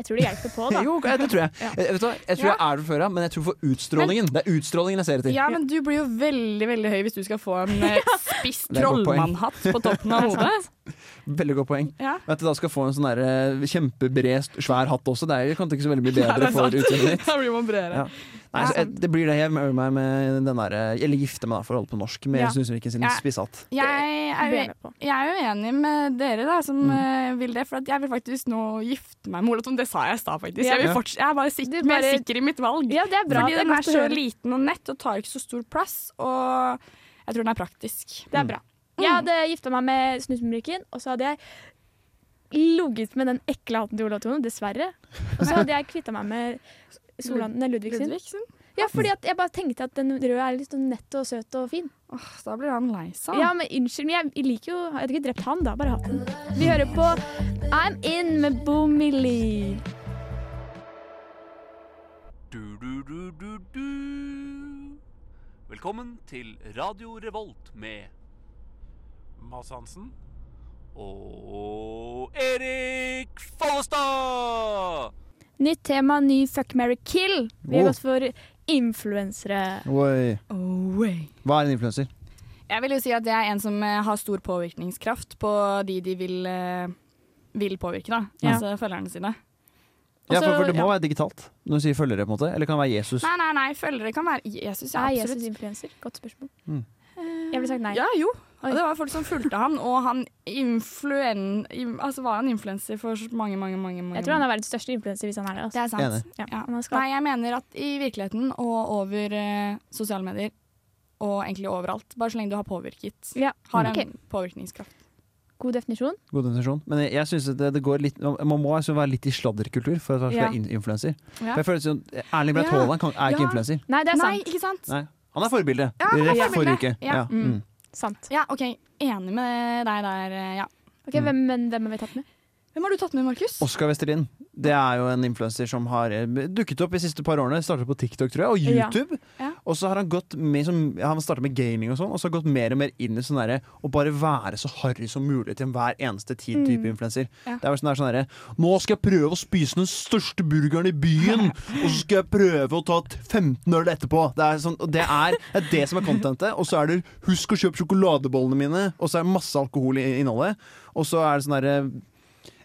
[SPEAKER 2] Jeg tror det hjelper på, da.
[SPEAKER 3] Jo, ok, det tror jeg. Jeg, vet du, hva, jeg tror jeg er det før, ja, men jeg tror for utstrålingen. det er utstrålingen jeg ser etter.
[SPEAKER 4] Ja, men du blir jo veldig veldig høy hvis du skal få en eh, spiss
[SPEAKER 3] Det er et godt poeng.
[SPEAKER 4] trollmannhatt på toppen av hodet.
[SPEAKER 3] Veldig godt poeng.
[SPEAKER 4] Ja.
[SPEAKER 3] Og At du da skal få en sånn der, eh, kjempebred, st- svær hatt også, det er jo kanskje ikke så veldig mye
[SPEAKER 4] Nei, det
[SPEAKER 3] bedre
[SPEAKER 4] er
[SPEAKER 3] for
[SPEAKER 4] sant.
[SPEAKER 3] utseendet ditt.
[SPEAKER 4] Da blir man bredere.
[SPEAKER 3] Ja. Nei, så, jeg, det blir det jeg gjør meg med den der, eh, eller gifter meg, da, for å holde på norsk, med
[SPEAKER 4] Ja.
[SPEAKER 3] snusmumrikken sin
[SPEAKER 4] Ja.
[SPEAKER 3] spisshatt.
[SPEAKER 4] Jeg
[SPEAKER 2] Blir
[SPEAKER 4] er,
[SPEAKER 2] jeg
[SPEAKER 4] uen-
[SPEAKER 2] med på.
[SPEAKER 4] jeg er uenig med dere da, som
[SPEAKER 3] Mm.
[SPEAKER 4] eh, vil det, for at jeg vil faktisk nå gifte meg med Olav Thon. Det sa jeg i stad, faktisk.
[SPEAKER 2] Ja.
[SPEAKER 4] Jeg, vil forts- jeg er bare
[SPEAKER 2] Du
[SPEAKER 4] sikker,
[SPEAKER 2] bare-
[SPEAKER 4] mer sikker i mitt valg.
[SPEAKER 2] Ja, det er bra.
[SPEAKER 4] Fordi
[SPEAKER 2] det er
[SPEAKER 4] den er
[SPEAKER 2] godt å
[SPEAKER 4] så
[SPEAKER 2] høre.
[SPEAKER 4] liten og nett og tar ikke så stor plass, og jeg tror den er praktisk. Mm.
[SPEAKER 2] Det er bra. Jeg hadde gifta meg med snusmumrikken, og så hadde jeg ligget med den ekle hatten til Olav Thon, dessverre. Og så hadde jeg kvitta meg med Solan, nei, Ludvig sin.
[SPEAKER 4] Ludvigsen?
[SPEAKER 2] Ja, fordi at jeg bare tenkte at den røde er litt sånn nett og søt og fin.
[SPEAKER 4] Åh, da blir han lei seg.
[SPEAKER 2] Ja, men unnskyld, men jeg liker jo Jeg hadde ikke drept han, da. Bare hatten. Vi hører på I'm In med Bomili.
[SPEAKER 6] Du, du, du, du, du. Velkommen til Radio Revolt med Mads Hansen og Erik Follestad!
[SPEAKER 2] Nytt tema, ny Fuck, marry, kill. Vi har
[SPEAKER 3] Oh.
[SPEAKER 2] gått for influensere.
[SPEAKER 3] Oi.
[SPEAKER 4] Oh, way.
[SPEAKER 3] Hva er en influenser?
[SPEAKER 4] Jeg vil jo si at det er en som eh, har stor påvirkningskraft på de de vil, eh, vil påvirke, da.
[SPEAKER 2] Ja.
[SPEAKER 4] Altså følgerne sine.
[SPEAKER 3] Ja, for,
[SPEAKER 2] Også-
[SPEAKER 3] for det må
[SPEAKER 2] ja.
[SPEAKER 3] være digitalt når du sier følgere, på en måte. Eller kan det være Jesus.
[SPEAKER 4] Altså, Nei, nei, nei, følgere kan være Jesus, ja,
[SPEAKER 2] Er
[SPEAKER 4] absolutt.
[SPEAKER 2] Jesus influenser? Godt spørsmål.
[SPEAKER 3] Mm.
[SPEAKER 2] Jeg ville sagt nei.
[SPEAKER 4] Ja, jo.
[SPEAKER 2] Oi.
[SPEAKER 4] Og det var folk som fulgte han, og han influen... im- Altså var han influenser for mange, mange, mange, mange
[SPEAKER 2] Jeg tror han er verdens største influenser hvis han er Mm. det. Altså.
[SPEAKER 4] Det er sant.
[SPEAKER 3] Enig.
[SPEAKER 2] Ja,
[SPEAKER 4] Ja.
[SPEAKER 2] han er skap-
[SPEAKER 4] Nei, jeg mener at i virkeligheten og over eh, sosiale medier, og egentlig overalt, bare så lenge du har påvirket,
[SPEAKER 2] Ja,
[SPEAKER 4] har en
[SPEAKER 2] ok.
[SPEAKER 4] påvirkningskraft.
[SPEAKER 2] God definisjon.
[SPEAKER 3] God definisjon. Men jeg, jeg synes at det, det går litt Man må altså være litt i sladderkultur for at man skal
[SPEAKER 2] Ja.
[SPEAKER 3] være in- influenser.
[SPEAKER 4] Ja.
[SPEAKER 3] For jeg føler sånn, Erling Breit
[SPEAKER 4] Ja.
[SPEAKER 3] Haaland kan- er ikke
[SPEAKER 4] Ja.
[SPEAKER 3] influenser.
[SPEAKER 2] Nei, det er
[SPEAKER 4] Nei,
[SPEAKER 2] sant.
[SPEAKER 4] ikke sant?
[SPEAKER 3] Nei. Han er forbilde.
[SPEAKER 4] Ja, han er
[SPEAKER 3] Rett
[SPEAKER 4] forbilde.
[SPEAKER 3] forrige uke.
[SPEAKER 4] Ja.
[SPEAKER 3] Ja. Mm.
[SPEAKER 2] sant.
[SPEAKER 4] Ja, OK. Enig med deg der, eh, ja.
[SPEAKER 2] Ok, hvem, men, hvem har vi tatt med?
[SPEAKER 4] Hvem har du tatt med, Markus?
[SPEAKER 3] Oskar Westerlin det er jo en influenser som har eh, dukket opp de siste par årene. Startet på TikTok tror jeg, og
[SPEAKER 2] Ja.
[SPEAKER 3] YouTube.
[SPEAKER 4] Ja.
[SPEAKER 3] Og så har han gått med som, Han startet med gaming og sånn, og så har gått mer og mer inn i sånn derre å bare være så harry som mulig til enhver eneste tid type influenser.
[SPEAKER 4] Mm. Ja.
[SPEAKER 3] Det er vel sånn der, sånn derre Nå skal jeg prøve å spise den største burgeren i byen, og så skal jeg prøve å ta et 15 øl etterpå. Det er, sånn, og det, er, det er det som er contentet. Og så er det husk å kjøpe sjokoladebollene mine, og så er det masse alkohol i innholdet. Og så er det sånn derre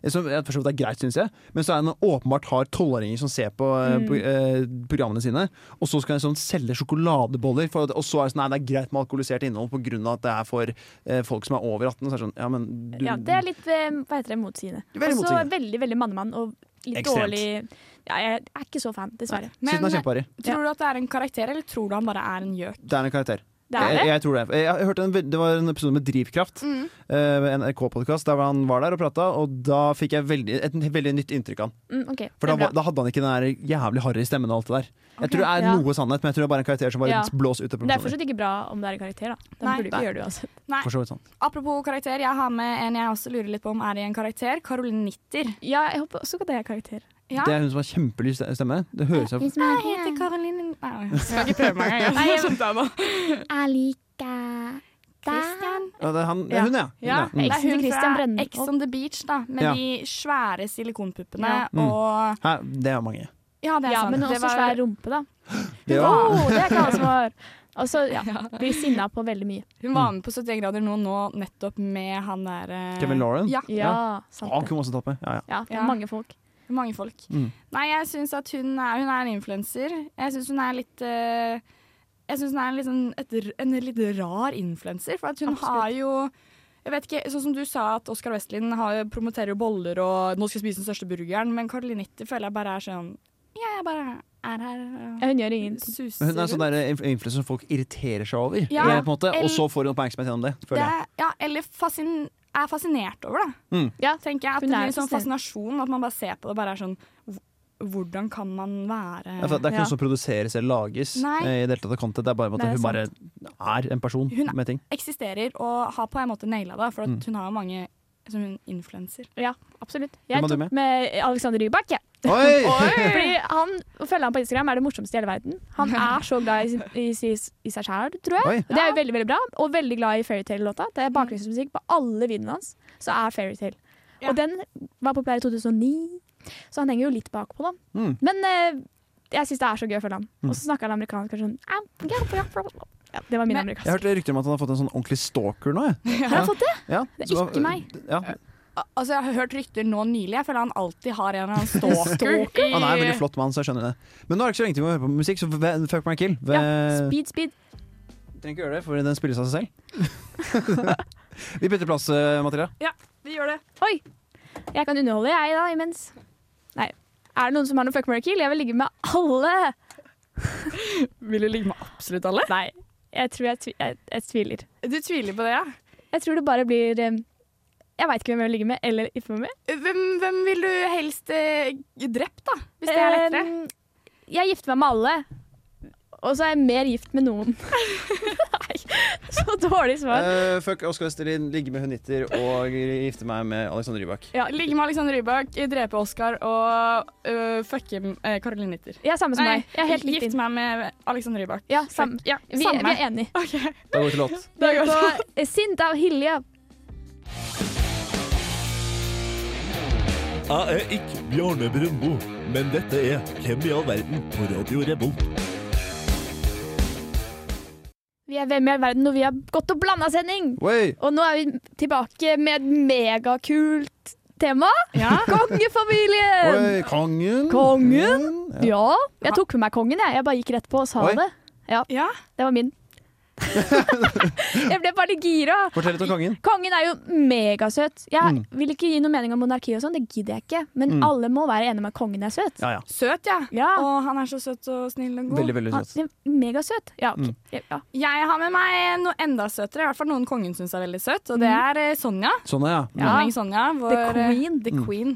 [SPEAKER 3] som jeg forstår at det er greit, synes jeg. Men så er han åpenbart har tolvåringer som ser på, eh,
[SPEAKER 2] Mm.
[SPEAKER 3] på eh, programmene sine. Og så skal han sånn selge sjokoladeboller. For at, og så er det sånn, nei, det er greit med alkoholisert innhold pga. at det er for eh, folk som er over 18. Så er det sånn, ja, men du,
[SPEAKER 2] Ja, det er litt eh, hva heter det, motsigende.
[SPEAKER 3] Veldig
[SPEAKER 2] Og så
[SPEAKER 3] motsigende.
[SPEAKER 2] veldig veldig mannemann og litt
[SPEAKER 3] Ekstremt.
[SPEAKER 2] dårlig ja, Jeg er ikke så fan, dessverre.
[SPEAKER 3] Synes den
[SPEAKER 4] Men eh,
[SPEAKER 3] er kjempeharry.
[SPEAKER 4] tror du at det er en karakter, eller tror du han bare er en gjøk?
[SPEAKER 3] Det er en karakter.
[SPEAKER 2] Det er
[SPEAKER 3] Jeg,
[SPEAKER 2] det. Mm.
[SPEAKER 3] jeg tror det. Jeg har hørt en, veld- det var en episode med Drivkraft. eh, en NRK-podkast der han var der og prata, og da fikk jeg veldig, et veldig nytt inntrykk av han.
[SPEAKER 2] Mm, ok,
[SPEAKER 3] For
[SPEAKER 2] det
[SPEAKER 3] da,
[SPEAKER 2] er bra.
[SPEAKER 3] var- da hadde han ikke den der jævlig harry stemmen og alt det der. Jeg tror det er
[SPEAKER 2] ja.
[SPEAKER 3] noe sannhet, men jeg tror det er bare en karakter som bare
[SPEAKER 2] Ja.
[SPEAKER 3] blåser ut av
[SPEAKER 2] Det er
[SPEAKER 3] proporsjoner.
[SPEAKER 2] fortsatt ikke bra om det er en karakter, da. Da
[SPEAKER 4] Nei.
[SPEAKER 2] burde du ikke gjøre det altså. uansett.
[SPEAKER 4] Nei,
[SPEAKER 3] For så vidt sånn.
[SPEAKER 4] apropos karakter, jeg har med en jeg også lurer litt på om er i en karakter. Caroline Nitter.
[SPEAKER 2] Ja, jeg håper også ikke at det er karakter.
[SPEAKER 4] Ja.
[SPEAKER 3] Det er hun som har kjempelys stemme. Det høres ut som
[SPEAKER 4] Jeg heter Caroline Nei, jeg skal ikke prøve meg engang. Nei, jeg skjønte det nå.
[SPEAKER 2] Jeg liker
[SPEAKER 4] Christian.
[SPEAKER 3] ja, det er han, det
[SPEAKER 4] Ja.
[SPEAKER 3] er hun, ja. Hun,
[SPEAKER 4] Ja,
[SPEAKER 3] Mm.
[SPEAKER 4] det er hun
[SPEAKER 2] Christian
[SPEAKER 4] fra
[SPEAKER 2] Brenne.
[SPEAKER 4] Ex on the Beach, da. Med
[SPEAKER 3] Ja.
[SPEAKER 4] de svære silikonpuppene
[SPEAKER 2] Ja.
[SPEAKER 3] Mm.
[SPEAKER 4] og
[SPEAKER 3] Hæ, det er mange.
[SPEAKER 4] Ja, det er
[SPEAKER 2] Ja,
[SPEAKER 4] sant.
[SPEAKER 2] men
[SPEAKER 4] Det
[SPEAKER 2] også
[SPEAKER 4] var-
[SPEAKER 2] svær rumpe, da.
[SPEAKER 3] Det er jo-
[SPEAKER 2] Åh, det er ikke alle som har. Og så ja, blir sinna på veldig mye.
[SPEAKER 4] Hun var med på 71 grader nå, nå nettopp med han der eh,
[SPEAKER 3] Kevin Lauren?
[SPEAKER 4] Ja,
[SPEAKER 2] Ja,
[SPEAKER 3] Å,
[SPEAKER 2] sant det.
[SPEAKER 3] kunne også tatt med. Ja, ja.
[SPEAKER 2] Ja, det
[SPEAKER 4] Ja.
[SPEAKER 2] er mange folk.
[SPEAKER 4] mange folk.
[SPEAKER 3] Mm.
[SPEAKER 4] Nei, jeg syns at hun er, hun er en influenser. Jeg syns hun er litt eh, Jeg syns hun er litt sånn et, r- en litt rar influenser, for at hun har jo jeg vet ikke, sånn som du sa at Oskar Westlin har, promoterer jo boller og 'nå skal jeg spise den største burgeren', men Caroline Nitti føler jeg bare er sånn Ja, jeg bare er her og
[SPEAKER 2] Ja, hun gjør ingenting.
[SPEAKER 4] suser
[SPEAKER 3] Men Hun er en sånn
[SPEAKER 4] rundt.
[SPEAKER 3] der inf- influencer som folk irriterer seg over,
[SPEAKER 4] Ja.
[SPEAKER 3] eh, på en måte, og
[SPEAKER 4] Eller-
[SPEAKER 3] så får hun oppmerksomhet gjennom det. Føler
[SPEAKER 4] det,
[SPEAKER 3] jeg.
[SPEAKER 4] ja, eller fascin er fascinert over, da.
[SPEAKER 3] Mm.
[SPEAKER 2] Ja,
[SPEAKER 4] tenker jeg at
[SPEAKER 2] Hun
[SPEAKER 4] det
[SPEAKER 2] er
[SPEAKER 4] blir en sånn
[SPEAKER 2] fascinerende.
[SPEAKER 4] fascinasjon, at man bare ser på det og bare er sånn "Hv- Hvordan kan man være
[SPEAKER 3] Ja, for Det er ikke
[SPEAKER 2] Ja.
[SPEAKER 3] noe som produseres eller lages.
[SPEAKER 4] Nei.
[SPEAKER 3] eh, i Det hele tatt av content. Det er bare at
[SPEAKER 2] Nei, det er
[SPEAKER 3] hun bare er en person
[SPEAKER 4] Hun er-
[SPEAKER 3] med ting.
[SPEAKER 4] Eksisterer og har på en måte naila det,
[SPEAKER 3] Mm.
[SPEAKER 4] for at hun har jo mange som hun influenser.
[SPEAKER 2] ja absolutt.
[SPEAKER 3] Hvem
[SPEAKER 2] Jeg
[SPEAKER 3] har du
[SPEAKER 2] tok med Alexander Rybak, jeg.
[SPEAKER 3] Oi!
[SPEAKER 2] Fordi han, å følge han på Instagram er det morsomste i hele verden. Han er så glad i, sin- i, sin- i seg sjæl, tror jeg.
[SPEAKER 3] Oi.
[SPEAKER 2] Og det er jo veldig veldig bra, og veldig glad i Fairytale-låta.
[SPEAKER 4] Mm.
[SPEAKER 2] Det er bakgrunnsmusikk på alle videoene hans. Så er Fairytale.
[SPEAKER 4] Ja.
[SPEAKER 2] Og den var populær i 2009, så han henger jo litt bakpå, da.
[SPEAKER 3] Mm.
[SPEAKER 2] Men eh, jeg syns det er så gøy å følge han. Og så snakker han amerikansk og sånn "I'm gonna play for-" ja, Det var min
[SPEAKER 4] Men-
[SPEAKER 3] Jeg
[SPEAKER 2] amerikansk.
[SPEAKER 3] hørte rykter om at han har fått en sånn ordentlig stalker nå. Jeg.
[SPEAKER 2] Har han fått det?
[SPEAKER 3] Ja.
[SPEAKER 2] Det er
[SPEAKER 3] så-
[SPEAKER 2] ikke meg.
[SPEAKER 3] Ja.
[SPEAKER 4] Al- Altså, jeg har hørt rykter nå nylig. Jeg føler han alltid har en eller annen stalker. i-
[SPEAKER 3] Han er en veldig flott mann, så jeg skjønner det. Men nå er det ikke så lenge til vi må høre på musikk, så ve- fuck my kill.
[SPEAKER 2] Ja.
[SPEAKER 3] Ve-
[SPEAKER 2] Speed, speed.
[SPEAKER 3] Trenger ikke gjøre det, for den spilles av seg selv. Vi bytter plass, eh, Mathilda.
[SPEAKER 4] Vi gjør det.
[SPEAKER 2] Oi! Jeg kan underholde, jeg, da, imens. Nei. Er det noen som har noe fuck, marry, kill? Jeg vil ligge med alle!
[SPEAKER 4] Vil du ligge med absolutt alle?
[SPEAKER 2] Nei, jeg tror jeg, tvi jeg, jeg tviler.
[SPEAKER 4] Du tviler på det, ja?
[SPEAKER 2] Jeg tror det bare blir eh, Jeg veit ikke hvem jeg vil ligge med eller ikke vil med.
[SPEAKER 4] Eh, Hvem, hvem vil du helst eh, drept, da? Hvis det er lettere?
[SPEAKER 2] Eh, Jeg gifter meg med alle. Og så er jeg mer gift med noen. Nei, så dårlig svar.
[SPEAKER 3] Eh, fuck Oskar Østerlin, ligge med hunitter og gifte meg med Alexander Rybak.
[SPEAKER 4] Ja, Ligge med Alexander Rybak, drepe Oskar og øh, fucke øh, Caroline Nitter.
[SPEAKER 2] Jeg er samme som
[SPEAKER 4] Nei,
[SPEAKER 2] deg. Jeg er helt likt
[SPEAKER 4] gift
[SPEAKER 2] inn.
[SPEAKER 4] meg med Alexander Rybak.
[SPEAKER 2] Ja, samme.
[SPEAKER 4] Ja,
[SPEAKER 2] Vi, vi
[SPEAKER 4] samme.
[SPEAKER 2] er enige.
[SPEAKER 3] Da går vi til låt.
[SPEAKER 2] Vi
[SPEAKER 4] Det er
[SPEAKER 2] er på
[SPEAKER 4] godt.
[SPEAKER 2] eh, Sint av Hilja.
[SPEAKER 1] Jeg er ikke Bjarne Brøndbo, men dette er Hvem i all verden på Radio Revolt.
[SPEAKER 2] Vi er Hvem i all verden, og vi har gått og blanda sending.
[SPEAKER 3] Oi,
[SPEAKER 2] Og nå er vi tilbake med et megakult tema. Kongefamilien!
[SPEAKER 3] oi, kongen.
[SPEAKER 2] Kongen?
[SPEAKER 3] Ja.
[SPEAKER 2] Ja, jeg tok med meg kongen, jeg. Jeg bare gikk rett på og sa
[SPEAKER 3] Oi.
[SPEAKER 2] det. Ja,
[SPEAKER 4] Ja.
[SPEAKER 2] det var min. jeg ble bare litt gira.
[SPEAKER 3] Fortell litt om kongen.
[SPEAKER 2] Kongen er jo megasøt. Jeg
[SPEAKER 3] Mm.
[SPEAKER 2] vil ikke gi noe mening om monarki og sånn, det gidder jeg ikke. Men
[SPEAKER 3] Mm.
[SPEAKER 2] alle må være enige om at kongen er søt.
[SPEAKER 3] Ja, ja.
[SPEAKER 4] Søt, ja.
[SPEAKER 2] Ja,
[SPEAKER 4] Å, han er så søt og snill og god.
[SPEAKER 3] Veldig, veldig søt. Mm.
[SPEAKER 2] han er megasøt. Ja, ok. ja.
[SPEAKER 4] Jeg har med meg noe enda søtere, i hvert fall noen kongen syns er veldig søt, og det er eh, Sonja.
[SPEAKER 3] Sånn, ja. ja.
[SPEAKER 4] Dronning Sonja. Vår,
[SPEAKER 2] Mm.
[SPEAKER 4] eh,
[SPEAKER 2] The Queen.
[SPEAKER 4] The Queen.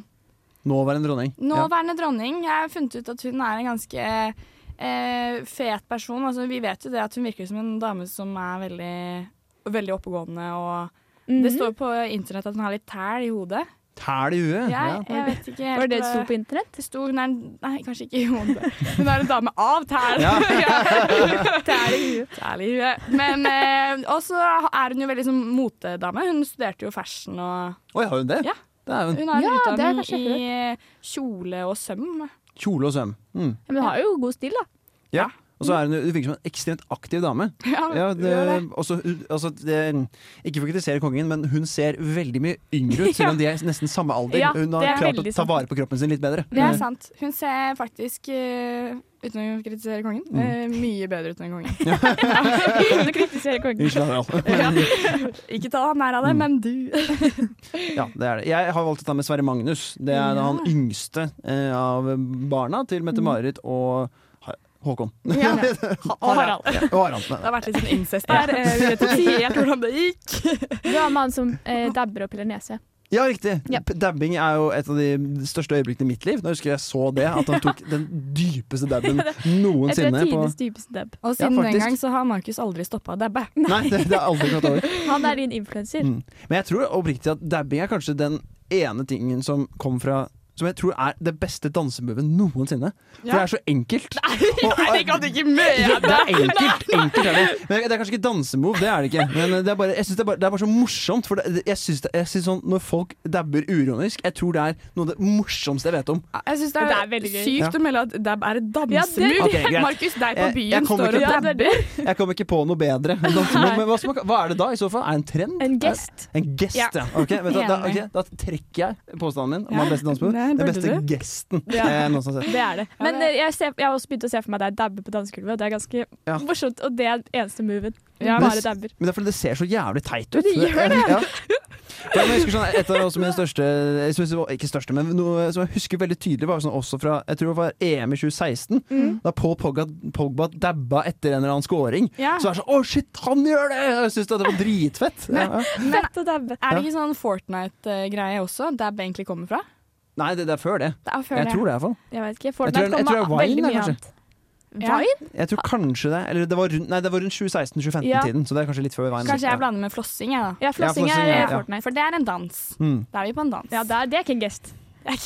[SPEAKER 3] Nåværende dronning. Ja.
[SPEAKER 4] Nåværende dronning. Jeg har funnet ut at hun er en ganske eh, fet person. Altså, vi vet jo det at hun virker som en dame som er
[SPEAKER 2] Mm. Mhm.
[SPEAKER 4] veldig, veldig oppegående og Det står på internett at hun har litt tæl i hodet.
[SPEAKER 3] Tæl i huet?
[SPEAKER 4] Jeg, jeg vet ikke helt
[SPEAKER 2] Var det det det
[SPEAKER 4] hva-
[SPEAKER 2] sto på internett?
[SPEAKER 4] Det sto hun er en Nei, kanskje ikke hun. Hun er en dame av tæl.
[SPEAKER 3] Ja.
[SPEAKER 4] tæl i huet. Tæl i huet. Men eh, også er hun jo veldig sånn motedame. Hun studerte jo fashion og
[SPEAKER 3] Oi, har hun det?
[SPEAKER 4] Ja.
[SPEAKER 3] Det er jo en
[SPEAKER 4] Hun har
[SPEAKER 2] Ja, det er
[SPEAKER 4] utdanning
[SPEAKER 2] kanskje
[SPEAKER 4] i kjole og søm.
[SPEAKER 3] kjole og søm. Mm.
[SPEAKER 2] Ja, Men hun har jo god stil, da.
[SPEAKER 3] Ja. Og så er hun, hun virker som en ekstremt aktiv dame. Ja, det,
[SPEAKER 4] gjør det.
[SPEAKER 3] også, altså, det, ikke for å kritisere kongen, men hun ser veldig mye yngre ut, selv om de er nesten samme alder.
[SPEAKER 4] Ja,
[SPEAKER 3] hun
[SPEAKER 4] det
[SPEAKER 3] har
[SPEAKER 4] er
[SPEAKER 3] klart å
[SPEAKER 2] veldig
[SPEAKER 3] ta
[SPEAKER 2] sant.
[SPEAKER 3] vare på kroppen sin litt bedre. Eh,
[SPEAKER 4] Det er sant. Hun ser faktisk, eh, uten å kritisere kongen,
[SPEAKER 3] Mm.
[SPEAKER 4] eh, mye bedre ut enn kongen.
[SPEAKER 2] Uten å kritisere kongen.
[SPEAKER 3] Unnskyld, Harald.
[SPEAKER 4] Ja. Ikke ta han
[SPEAKER 3] Mm.
[SPEAKER 4] nær av det, men du.
[SPEAKER 3] Ja, det er det. Jeg har valgt å ta med Sverre Magnus. Det er da han yngste eh, av barna til Mette-Marit og Har- Håkon.
[SPEAKER 4] Mm. Ja. Harald.
[SPEAKER 3] Ja, og Harald. Nei,
[SPEAKER 4] Det har vært litt sånn incest der. eh, Vi vet ikke helt hvordan det gikk.
[SPEAKER 2] Du har med han som eh, dabber og piller nese.
[SPEAKER 3] Ja, riktig.
[SPEAKER 2] Ja.
[SPEAKER 3] P- Dabbing er jo et av de største øyeblikkene i mitt liv. Da husker jeg så det, at han tok den dypeste dabben
[SPEAKER 2] Jeg tror det
[SPEAKER 3] noensinne
[SPEAKER 2] er
[SPEAKER 3] på
[SPEAKER 2] tidenes dypeste dab.
[SPEAKER 4] Og
[SPEAKER 3] Ja,
[SPEAKER 4] siden den
[SPEAKER 3] faktisk.
[SPEAKER 4] gang så har Markus aldri stoppa å dabbe.
[SPEAKER 3] Nei, det, det er aldri gått over.
[SPEAKER 2] Han er din influenser.
[SPEAKER 3] Mm. Men jeg tror oppriktig at dabbing er kanskje den ene tingen som kom fra som jeg tror er det beste dansemovet noensinne. For
[SPEAKER 4] Ja.
[SPEAKER 3] det er så enkelt. Og-
[SPEAKER 4] ikke
[SPEAKER 3] Jo,
[SPEAKER 4] mene!
[SPEAKER 3] det er enkelt. enkelt er det. Men det er kanskje ikke dansemove, det er det ikke. Men det er bare, jeg synes det, er bare, det er bare så morsomt. For det, jeg synes det, jeg synes sånn, Når folk dabber uironisk, jeg tror det er noe av det morsomste jeg vet om.
[SPEAKER 4] Jeg syns det er,
[SPEAKER 2] Det er veldig gøy.
[SPEAKER 4] sykt å melde at dab er et dansemur.
[SPEAKER 2] Ja,
[SPEAKER 3] det- Ok, greit.
[SPEAKER 4] Markus, deg på
[SPEAKER 3] Jeg-
[SPEAKER 4] byen
[SPEAKER 3] jeg kommer
[SPEAKER 4] står og
[SPEAKER 3] ikke- Ja,
[SPEAKER 4] dabber.
[SPEAKER 3] Jeg kom ikke på noe bedre. enn dansemove. Men hva, som, er- hva er det da, i så fall? Er det en trend?
[SPEAKER 2] En gest.
[SPEAKER 3] Er- En gest, ja.
[SPEAKER 4] Ja.
[SPEAKER 3] Ok, vet du, hva, da,
[SPEAKER 4] Enig.
[SPEAKER 3] ok, da trekker jeg påstanden min om
[SPEAKER 4] Ja.
[SPEAKER 3] hva er beste dansemove.
[SPEAKER 4] Nei,
[SPEAKER 3] Den
[SPEAKER 4] burde
[SPEAKER 3] beste gesten
[SPEAKER 2] Ja.
[SPEAKER 3] jeg noensinne har sett.
[SPEAKER 2] Det er det.
[SPEAKER 4] Ja,
[SPEAKER 2] Men
[SPEAKER 4] det er-
[SPEAKER 2] eh, jeg, ser, jeg har også begynt å se for meg deg dabbe på dansegulvet. og Det er ganske
[SPEAKER 3] Ja.
[SPEAKER 2] morsomt, og det er den eneste moven.
[SPEAKER 4] Ja.
[SPEAKER 2] Bare dabber.
[SPEAKER 3] Men det er fordi det ser så jævlig teit ut.
[SPEAKER 2] Det gjør det.
[SPEAKER 3] Ja. Ja, men jeg husker sånn, et av også mine største jeg synes, det var- Ikke største, men noe som jeg husker veldig tydelig, var sånn også fra jeg tror det var EM i 2016.
[SPEAKER 4] Mm.
[SPEAKER 3] Da Paul Pogba, Pogba dabba etter en eller annen scoring.
[SPEAKER 4] Ja.
[SPEAKER 3] Så er det sånn Å, shit, han gjør det! Jeg syns det var dritfett. Ja, ja.
[SPEAKER 2] Fett å dabbe.
[SPEAKER 4] Er det ikke sånn Fortnite-greie også, dab egentlig kommer fra?
[SPEAKER 3] Nei, det, det er før det.
[SPEAKER 4] Det er før
[SPEAKER 3] Jeg
[SPEAKER 4] det.
[SPEAKER 3] tror det, iallfall.
[SPEAKER 2] Jeg vet ikke.
[SPEAKER 3] Jeg tror-
[SPEAKER 2] Fortnite
[SPEAKER 3] jeg tror det er
[SPEAKER 2] kommer
[SPEAKER 3] Vine,
[SPEAKER 2] veldig mye
[SPEAKER 3] kanskje.
[SPEAKER 2] annet.
[SPEAKER 4] Ja.
[SPEAKER 2] Vine?
[SPEAKER 3] Jeg tror kanskje det. Eller det var rundt, nei, det var rundt 2016-2015-tiden, så det er kanskje litt før veien.
[SPEAKER 4] Kanskje jeg blander med flossing, jeg, da.
[SPEAKER 2] Ja, flossing
[SPEAKER 3] flossing,
[SPEAKER 2] er
[SPEAKER 3] ja,
[SPEAKER 2] eh,
[SPEAKER 3] ja.
[SPEAKER 2] Fortnite.
[SPEAKER 4] For det er en dans.
[SPEAKER 3] Mm.
[SPEAKER 4] Da er vi på en dans.
[SPEAKER 2] Ja, det er, det er ikke en gest.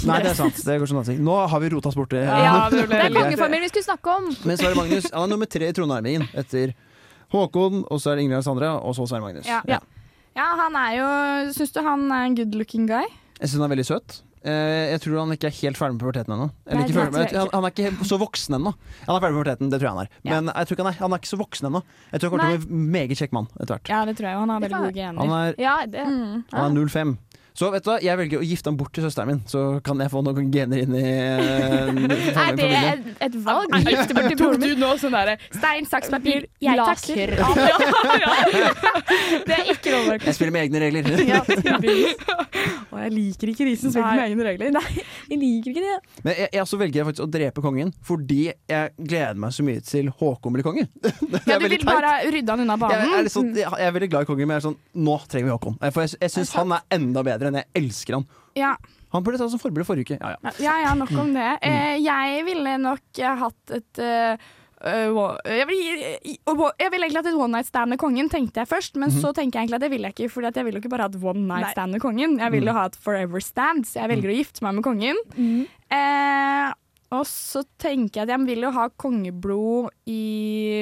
[SPEAKER 3] Nei, det er sant. Det går som dansing. Nå har vi rota oss borti.
[SPEAKER 4] Ja, det ble
[SPEAKER 2] Det er
[SPEAKER 4] veldig-
[SPEAKER 2] kongefamilien vi skulle snakke om!
[SPEAKER 3] Men Sverre Magnus han er nummer tre i Trondheimingen etter Håkon, og så er det Ingrid Alexandra, og så Sverre Magnus.
[SPEAKER 4] Ja.
[SPEAKER 3] Ja.
[SPEAKER 4] Ja, han er jo Syns du han er en good looking guy?
[SPEAKER 3] Jeg syns han er veldig søt. Eh, Jeg tror han ikke er helt ferdig med puberteten ennå. Eller
[SPEAKER 4] Nei,
[SPEAKER 3] ikke
[SPEAKER 4] det
[SPEAKER 3] ferdig med-
[SPEAKER 4] tror jeg
[SPEAKER 3] han, han er ikke helt så voksen ennå. Han er ferdig med puberteten, det tror jeg han er.
[SPEAKER 4] Ja.
[SPEAKER 3] Men jeg tror ikke han er, han er ikke så voksen ennå. Jeg tror han kommer til å bli en meget kjekk mann etter hvert.
[SPEAKER 4] Ja, det tror jeg jo. Han har
[SPEAKER 2] Det
[SPEAKER 4] veldig
[SPEAKER 2] kan
[SPEAKER 4] gode gener.
[SPEAKER 3] Han er,
[SPEAKER 2] Ja, det,
[SPEAKER 4] Mm.
[SPEAKER 3] han er 05. Så vet du hva, jeg velger å gifte han bort til søsteren min, så kan jeg få noen gener inn i eh,
[SPEAKER 2] er det
[SPEAKER 3] familien.
[SPEAKER 2] et, et valg? Gifte bort til
[SPEAKER 4] Tok
[SPEAKER 2] broren
[SPEAKER 4] du
[SPEAKER 2] min?
[SPEAKER 4] nå sånn derre stein, saks, papir, jeg tar
[SPEAKER 2] Laser.
[SPEAKER 4] krabbe?
[SPEAKER 2] Det er ikke lov, Markus.
[SPEAKER 3] Jeg spiller med egne regler.
[SPEAKER 2] Ja, tydeligvis.
[SPEAKER 4] Å, jeg liker ikke de som spiller med egne regler.
[SPEAKER 2] Nei, jeg liker ikke det.
[SPEAKER 3] Men jeg, jeg også velger jeg faktisk å drepe kongen, fordi jeg gleder meg så mye til Håkon blir konge. Det
[SPEAKER 4] Ja,
[SPEAKER 3] er
[SPEAKER 4] du
[SPEAKER 3] veldig
[SPEAKER 4] vil
[SPEAKER 3] teit.
[SPEAKER 4] bare rydde han unna
[SPEAKER 3] jeg, er
[SPEAKER 4] banen?
[SPEAKER 3] litt sånn, jeg, jeg er veldig glad i kongen, men jeg er sånn, nå trenger vi Håkon. For jeg, jeg syns han er enda bedre enn jeg elsker han.
[SPEAKER 4] Ja.
[SPEAKER 3] Han burde ta som forbilde forrige uke. Ja, ja.
[SPEAKER 4] ja ja, nok om det. Eh, jeg ville nok eh, hatt et eh, eh, wa- jeg vil, i- og wa- jeg ville egentlig hatt et one night stand med kongen, tenkte jeg først. Men så tenker jeg egentlig at det vil jeg ikke, for jeg vil jo ikke bare ha et one night
[SPEAKER 2] Nei.
[SPEAKER 4] stand med kongen. Jeg vil jo ha et forever stand, så jeg velger å gifte meg med kongen. Eh, og så tenker jeg at jeg vil jo ha kongeblod i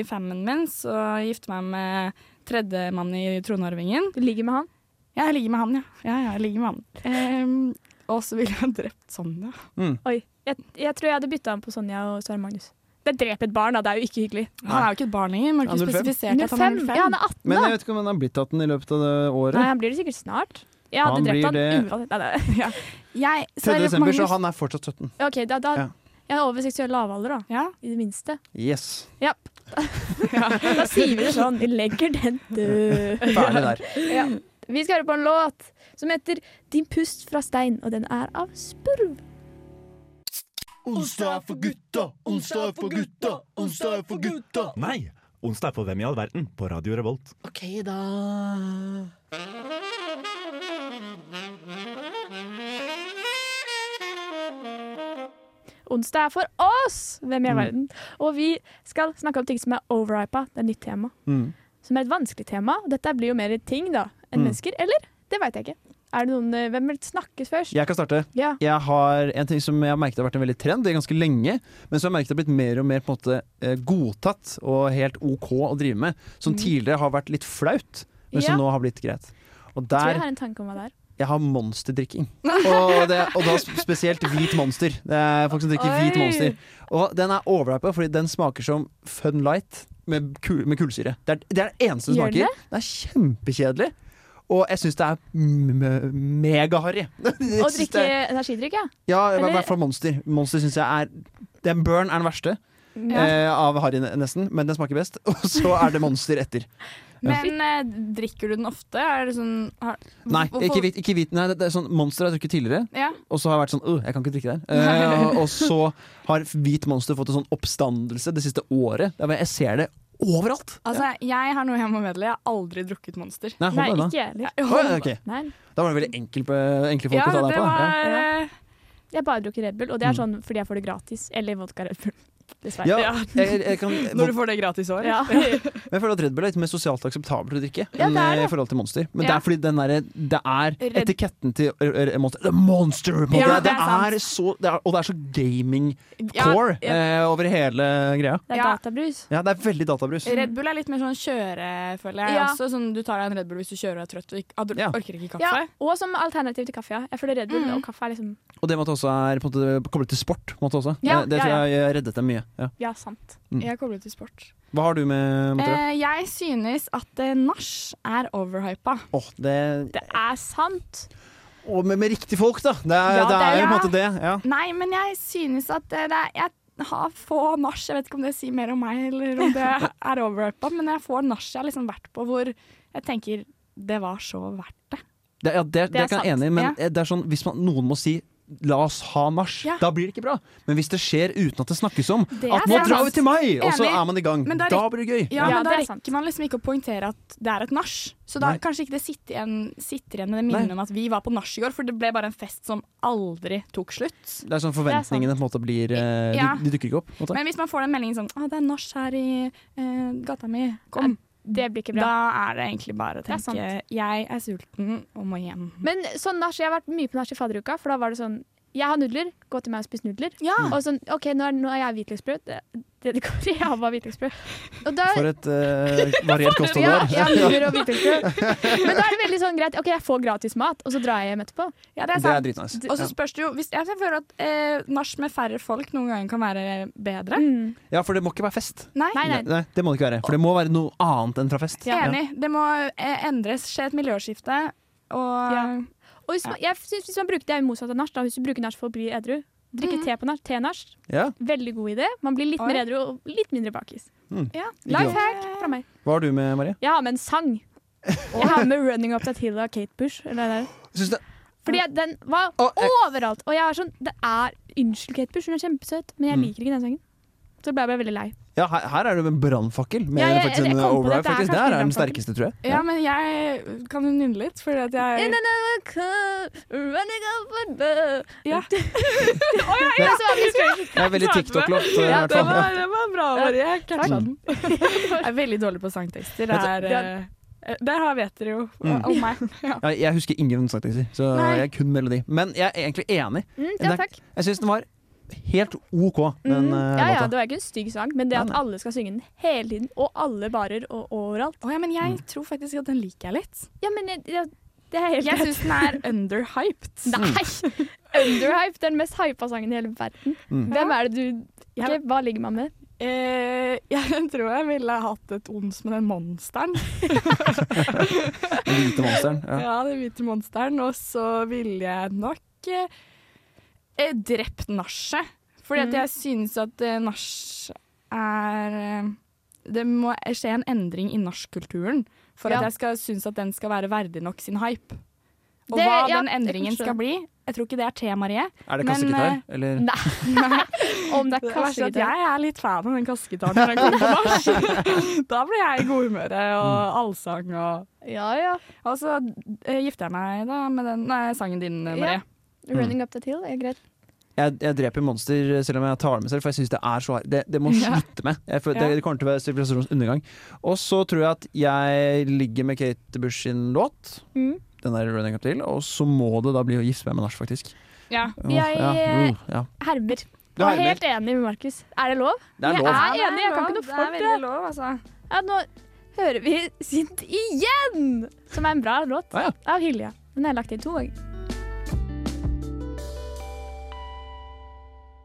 [SPEAKER 4] fammen min, så gifte meg med tredjemann i tronarvingen.
[SPEAKER 2] Du ligger med han.
[SPEAKER 4] Ja, jeg ligger med han, ja. ja, ja jeg ligger med han. Ehm, og så ville jeg ha drept Sonja.
[SPEAKER 2] Oi. Jeg, jeg tror jeg hadde bytta han på Sonja og Sverre Magnus. Det dreper et barn, da. Det er jo ikke hyggelig.
[SPEAKER 4] Han er jo ikke et barn lenger. Man har
[SPEAKER 3] Ja,
[SPEAKER 4] ikke
[SPEAKER 3] 05.
[SPEAKER 4] spesifisert at han er 05.
[SPEAKER 2] Ja, han er 18,
[SPEAKER 3] Men
[SPEAKER 2] da.
[SPEAKER 3] jeg vet ikke om han har blitt tatt den i løpet av det
[SPEAKER 2] Nei,
[SPEAKER 3] året.
[SPEAKER 2] han blir det sikkert snart. Jeg hadde
[SPEAKER 3] Han
[SPEAKER 2] drept
[SPEAKER 3] blir
[SPEAKER 2] han
[SPEAKER 3] det-
[SPEAKER 2] uansett. Nei, nei.
[SPEAKER 4] Jeg,
[SPEAKER 3] 3.
[SPEAKER 4] Sverre
[SPEAKER 3] desember, så
[SPEAKER 4] Magnus-
[SPEAKER 3] han er fortsatt 17.
[SPEAKER 2] OK, da, da
[SPEAKER 3] Ja.
[SPEAKER 2] Jeg er over seksuell lavalder, da.
[SPEAKER 4] Ja,
[SPEAKER 2] I det minste.
[SPEAKER 3] Yes.
[SPEAKER 2] Ja. da sier vi det sånn. Vi legger den død.
[SPEAKER 3] Ferdig der.
[SPEAKER 2] Ja. Vi skal høre på en låt som heter 'Din pust fra stein', og den er av Spurv.
[SPEAKER 1] Onsdag er for gutta, onsdag er for gutta, onsdag er for gutta.
[SPEAKER 7] Nei, onsdag er for hvem i all verden på Radio Revolt.
[SPEAKER 2] Onsdag er for oss! Hvem i
[SPEAKER 3] Mm.
[SPEAKER 2] all verden? Og vi skal snakke om ting som er overripa. Det er et nytt tema.
[SPEAKER 3] Mm.
[SPEAKER 2] Som er et vanskelig tema. Dette blir jo mer ting da enn
[SPEAKER 3] Mm.
[SPEAKER 2] mennesker. Eller? Det veit jeg ikke. Er det noen eh, Hvem vil snakkes først?
[SPEAKER 3] Jeg kan starte.
[SPEAKER 2] Ja.
[SPEAKER 3] Jeg har en ting som jeg har merket har vært en veldig trend det er ganske lenge, men som jeg har merket har blitt mer og mer på en måte eh, godtatt og helt OK å drive med. Som tidligere har vært litt flaut, men som
[SPEAKER 2] Mm. Ja.
[SPEAKER 3] nå har blitt greit. Og
[SPEAKER 2] Jeg tror jeg
[SPEAKER 3] der
[SPEAKER 2] har en tanke om hva det er.
[SPEAKER 3] Jeg har monsterdrikking. Og, det, og da sp- spesielt hvit monster. Det er folk som drikker hvit
[SPEAKER 2] Oi.
[SPEAKER 3] monster. Og den er overhypa fordi den smaker som Fun Light med, kul, med kullsyre. Det er det er det eneste den
[SPEAKER 2] Gjør den
[SPEAKER 3] smaker. Det? er kjempekjedelig. Og jeg syns det er m- megaharry.
[SPEAKER 2] Å drikke energidrikk, ja.
[SPEAKER 3] Ja, i
[SPEAKER 2] Eller-
[SPEAKER 3] hvert fall Monster. Monster syns jeg er Den Burn er den verste eh, av harry, nesten, men den smaker best. Og så er det Monster etter.
[SPEAKER 4] Men eh, drikker du den ofte? Er det sånn har,
[SPEAKER 3] Nei,
[SPEAKER 4] hvorfor-
[SPEAKER 3] ikke, hvit- ikke hvit. Nei, det, det er sånn Monster har jeg drukket tidligere.
[SPEAKER 4] Ja.
[SPEAKER 3] Og så har jeg vært sånn «Åh, jeg kan ikke drikke der. Eh, og, og så har Hvit Monster fått en sånn oppstandelse det siste året. Det er bare- Jeg ser det overalt.
[SPEAKER 4] Altså, jeg har noe jeg må meddele. Jeg har aldri drukket Monster.
[SPEAKER 2] Nei,
[SPEAKER 3] Nei, hold deg unna.
[SPEAKER 2] ikke jeg heller.
[SPEAKER 3] Å, ja, ok.
[SPEAKER 2] Nei.
[SPEAKER 3] Da var det veldig enkel, enkle folk
[SPEAKER 4] Ja,
[SPEAKER 3] å ta deg
[SPEAKER 4] det
[SPEAKER 3] på. da. Ja.
[SPEAKER 4] var eh,
[SPEAKER 2] Jeg bare drukker Red Bull, og det er sånn fordi jeg får det gratis. Eller vodka Red Bull. Dessverre.
[SPEAKER 3] Mm. Ja,
[SPEAKER 4] Ja.
[SPEAKER 3] jeg, jeg, kan,
[SPEAKER 4] Når du får det gratis i år.
[SPEAKER 2] Ja.
[SPEAKER 3] men jeg føler at Red Bull er litt mer sosialt akseptabel til å drikke
[SPEAKER 2] Ja,
[SPEAKER 3] enn
[SPEAKER 2] det er
[SPEAKER 3] eh, i
[SPEAKER 2] det.
[SPEAKER 3] forhold til Monster. Men det
[SPEAKER 4] Ja.
[SPEAKER 3] er fordi den der, det er
[SPEAKER 4] Red-
[SPEAKER 3] etiketten til eh, eh, Monster Det er Monster! på en måte.
[SPEAKER 4] Ja,
[SPEAKER 3] det,
[SPEAKER 4] det er
[SPEAKER 3] er så, det er, og det er så gaming-core
[SPEAKER 4] Ja, ja.
[SPEAKER 3] eh, over hele greia.
[SPEAKER 2] Det er
[SPEAKER 4] Ja.
[SPEAKER 2] databrus.
[SPEAKER 3] Ja, det er veldig databrus.
[SPEAKER 4] Red Bull er litt mer sånn kjøre, føler jeg.
[SPEAKER 2] Ja.
[SPEAKER 4] Også, sånn, du tar deg en Red Bull hvis du kjører og er trøtt og ikke, ah, du
[SPEAKER 3] Ja.
[SPEAKER 4] orker ikke kaffe.
[SPEAKER 2] Ja, og som alternativ til kaffe. Ja. Jeg føler Red Bull
[SPEAKER 4] Mm.
[SPEAKER 2] og kaffe er liksom
[SPEAKER 3] Og det med at det også er på en måte, koblet til sport. På en måte også.
[SPEAKER 2] Ja,
[SPEAKER 3] det det
[SPEAKER 2] ja,
[SPEAKER 3] tror
[SPEAKER 2] ja.
[SPEAKER 3] jeg eh, reddet dem mye. Ja.
[SPEAKER 2] Ja, sant.
[SPEAKER 4] Jeg kobler til sport.
[SPEAKER 3] Hva har Mm. du med Mathea?
[SPEAKER 4] Eh, jeg synes at eh, nach er overhypa.
[SPEAKER 3] Åh, det,
[SPEAKER 2] Det er sant.
[SPEAKER 3] Åh, med, med riktig folk, da! Det er,
[SPEAKER 2] Ja,
[SPEAKER 3] det
[SPEAKER 2] det
[SPEAKER 3] er
[SPEAKER 2] er-
[SPEAKER 3] jo på en måte det. Ja.
[SPEAKER 4] Nei, men jeg synes at eh, det er, jeg har få nach. Jeg vet ikke om det sier mer om meg, eller om det er overhypa, men jeg får nach jeg har liksom vært på hvor jeg tenker det var så verdt det.
[SPEAKER 3] Det, ja, det, det,
[SPEAKER 2] er
[SPEAKER 3] kan jeg
[SPEAKER 2] sant,
[SPEAKER 3] enig i, men
[SPEAKER 4] ja.
[SPEAKER 3] eh, det er sånn, hvis man, noen må si La oss ha nach.
[SPEAKER 4] Ja.
[SPEAKER 3] Da blir det ikke bra. Men hvis det skjer uten at det snakkes om
[SPEAKER 4] Det er
[SPEAKER 3] At nå
[SPEAKER 4] sant.
[SPEAKER 3] drar vi til meg! Og så
[SPEAKER 4] Enig.
[SPEAKER 3] er man i gang.
[SPEAKER 4] Men det er
[SPEAKER 3] Da
[SPEAKER 4] litt-
[SPEAKER 3] blir det gøy.
[SPEAKER 2] Ja,
[SPEAKER 4] Ja, men
[SPEAKER 2] det
[SPEAKER 4] da
[SPEAKER 2] er sant.
[SPEAKER 4] rekker man liksom ikke å poengtere at det er et nach. Så da
[SPEAKER 3] Nei.
[SPEAKER 4] kanskje ikke det sitter igjen, sitter igjen med det minnet om at vi var på nach i går, for det ble bare en fest som aldri tok slutt.
[SPEAKER 3] Det er sånn forventningene på en måte blir eh,
[SPEAKER 4] Ja.
[SPEAKER 3] de, de dukker ikke opp. på en Måte.
[SPEAKER 4] Men hvis man får den meldingen sånn Å, det er nach her i eh, gata mi. Kom.
[SPEAKER 2] Det blir ikke bra.
[SPEAKER 4] Da er det egentlig bare å
[SPEAKER 2] er
[SPEAKER 4] tenke
[SPEAKER 2] sant.
[SPEAKER 4] Jeg er sulten og må hjem.
[SPEAKER 2] Men sånn nach, jeg har vært mye på nach i fadderuka, for da var det sånn Jeg har nudler, gå til meg og spis nudler.
[SPEAKER 4] Ja.
[SPEAKER 3] Ah.
[SPEAKER 2] Og sånn, OK, nå er, nå er jeg hvitløksbrød. Det, det det går i, jeg har bare hvitløksbrød. Og da
[SPEAKER 3] For et eh, variert kosthold
[SPEAKER 2] ja,
[SPEAKER 3] der.
[SPEAKER 2] ja, nudler og hvitløksbrød. Men da er det veldig sånn greit. OK, jeg får gratis mat, og så drar jeg hjem etterpå.
[SPEAKER 4] Ja,
[SPEAKER 3] Det
[SPEAKER 4] det er
[SPEAKER 3] er
[SPEAKER 4] sant.
[SPEAKER 3] dritnice.
[SPEAKER 4] og så spørs det jo hvis, Jeg føler at eh, nach med færre folk noen ganger kan være bedre.
[SPEAKER 3] Ja, for det må ikke være fest.
[SPEAKER 4] Mm. Nei.
[SPEAKER 2] Nei, nei.
[SPEAKER 3] Nei, det må det ikke være. For det må være noe annet enn fra fest.
[SPEAKER 2] Ja.
[SPEAKER 4] Enig. Det må eh, endres. Skje et miljøskifte. Og
[SPEAKER 2] Ja. Og hvis man, jeg synes hvis man bruker det er jo motsatt av nach, da. Hvis du bruker nach for å bli edru. Drikke
[SPEAKER 3] Mm.
[SPEAKER 2] te på nach. Te-nach.
[SPEAKER 3] Ja.
[SPEAKER 2] Veldig god idé. Man blir litt
[SPEAKER 4] Oi.
[SPEAKER 2] mer edru og litt mindre bakis.
[SPEAKER 4] ja.
[SPEAKER 2] Life hack fra meg.
[SPEAKER 3] Hva har du med, Marie?
[SPEAKER 2] Jeg har med en sang. Jeg har med 'Running Up That Hill' av Kate Bush. Eller det der.
[SPEAKER 3] Syns det
[SPEAKER 2] Fordi jeg- den var
[SPEAKER 3] Å, Mm. jeg-
[SPEAKER 2] overalt. Og jeg er sånn Det er Unnskyld, Kate Bush, hun er kjempesøt, men jeg
[SPEAKER 3] Mm.
[SPEAKER 2] liker ikke den sangen. Så ble jeg bare veldig lei.
[SPEAKER 3] Ja, her, her er det en brannfakkel. Mer
[SPEAKER 2] Ja,
[SPEAKER 3] enn
[SPEAKER 2] jeg-
[SPEAKER 3] faktisk
[SPEAKER 2] jeg
[SPEAKER 3] en
[SPEAKER 2] kom på
[SPEAKER 3] override,
[SPEAKER 2] det, det er
[SPEAKER 3] faktisk. Det
[SPEAKER 2] kanskje
[SPEAKER 3] her er den
[SPEAKER 2] brannfakkel.
[SPEAKER 3] sterkeste, tror jeg.
[SPEAKER 4] ja, men jeg kan jo nynne litt, fordi at jeg
[SPEAKER 2] In another club, running up a bell.
[SPEAKER 4] Ja.
[SPEAKER 2] Ja, så var det skrevet.
[SPEAKER 3] Det er veldig TikTok-låt. i
[SPEAKER 4] Ja,
[SPEAKER 3] hvert
[SPEAKER 4] det
[SPEAKER 3] fall.
[SPEAKER 4] var, det var bra, Marie. Jeg catcha
[SPEAKER 3] Takk.
[SPEAKER 4] den. Jeg er veldig dårlig på sangtekster. Det
[SPEAKER 3] Vet
[SPEAKER 4] er, eh, det her vet dere jo
[SPEAKER 3] Mm.
[SPEAKER 4] om meg. Ja.
[SPEAKER 3] Ja, jeg husker ingen sangtekster, så
[SPEAKER 4] Nei.
[SPEAKER 3] jeg er kun melodi. Men jeg er egentlig enig.
[SPEAKER 2] Mm,
[SPEAKER 3] Den
[SPEAKER 2] ja,
[SPEAKER 3] er-
[SPEAKER 2] takk.
[SPEAKER 3] Jeg syns den var helt OK, den
[SPEAKER 2] Mm,
[SPEAKER 3] eh,
[SPEAKER 2] ja, ja,
[SPEAKER 3] låta.
[SPEAKER 2] det var ikke en stygg sang, men det
[SPEAKER 3] Nei,
[SPEAKER 2] at
[SPEAKER 3] nei.
[SPEAKER 2] alle skal synge den hele tiden, og alle barer og overalt
[SPEAKER 4] Å ja, men jeg tror faktisk at den liker jeg litt.
[SPEAKER 2] Ja, men jeg, jeg, det er helt
[SPEAKER 4] Jeg
[SPEAKER 2] greit.
[SPEAKER 4] syns den er underhyped.
[SPEAKER 2] Nei! Underhype, den mest hypa sangen i hele verden.
[SPEAKER 3] Mm.
[SPEAKER 2] Hvem er det du
[SPEAKER 4] Ja.
[SPEAKER 2] Ok, Hva ligger man med?
[SPEAKER 4] Eh, jeg tror jeg ville hatt et ons med den monsteren.
[SPEAKER 3] Den hvite monsteren. Ja.
[SPEAKER 4] Ja, den hvite monsteren. Og så ville jeg nok eh, eh, drept nachet. Fordi at
[SPEAKER 2] Mm.
[SPEAKER 4] jeg synes at eh, nach er eh, Det må skje en endring i nachkulturen for
[SPEAKER 2] Ja.
[SPEAKER 4] at jeg skal synes at den skal være verdig nok sin hype. Og
[SPEAKER 2] Det-
[SPEAKER 4] hva
[SPEAKER 2] ja,
[SPEAKER 4] den
[SPEAKER 2] det kan
[SPEAKER 4] endringen
[SPEAKER 2] skje.
[SPEAKER 4] skal bli Jeg tror ikke det er te, Marie.
[SPEAKER 3] Er det
[SPEAKER 4] Men,
[SPEAKER 3] kassegitar?
[SPEAKER 4] eh,
[SPEAKER 3] Eller
[SPEAKER 2] Nei, om det
[SPEAKER 4] Det
[SPEAKER 2] er
[SPEAKER 4] verste er
[SPEAKER 2] kassegitar.
[SPEAKER 4] at jeg er litt fan av den kassegitaren når den kommer på nach. da blir jeg i godhumøret og
[SPEAKER 2] Mm.
[SPEAKER 4] allsang og
[SPEAKER 2] Ja, ja.
[SPEAKER 4] Og så eh, gifter jeg meg da med den nei, sangen din, eh,
[SPEAKER 2] Ja.
[SPEAKER 4] Marie.
[SPEAKER 2] Running up that hill er greit.
[SPEAKER 3] jeg, jeg dreper monster selv om jeg tar det med selv, for jeg syns det er så hard. Det, det må
[SPEAKER 4] Ja.
[SPEAKER 3] slutte med. Jeg, føler-
[SPEAKER 4] Ja.
[SPEAKER 3] det, det kommer til å være sivilisasjonens undergang. Og så tror jeg at jeg ligger med Kate Bush sin låt.
[SPEAKER 2] Mm.
[SPEAKER 3] den der running up til, og så må det da bli å gifte meg med nach, faktisk.
[SPEAKER 4] Ja.
[SPEAKER 3] Åh,
[SPEAKER 2] Jeg,
[SPEAKER 3] ja,
[SPEAKER 2] eh,
[SPEAKER 3] uh, ja.
[SPEAKER 2] Hermer.
[SPEAKER 3] Du
[SPEAKER 2] Jeg
[SPEAKER 3] hermer.
[SPEAKER 2] er helt enig med Markus. Er det lov?
[SPEAKER 3] Det er
[SPEAKER 2] jeg
[SPEAKER 3] lov.
[SPEAKER 2] er enig, jeg kan ikke noe for
[SPEAKER 4] Det er veldig
[SPEAKER 2] det.
[SPEAKER 4] lov, altså.
[SPEAKER 2] Ja, nå hører vi Sint igjen, som er en bra låt
[SPEAKER 3] Ah, Ja, ja.
[SPEAKER 2] av Hilja. Den har jeg lagt inn to ganger.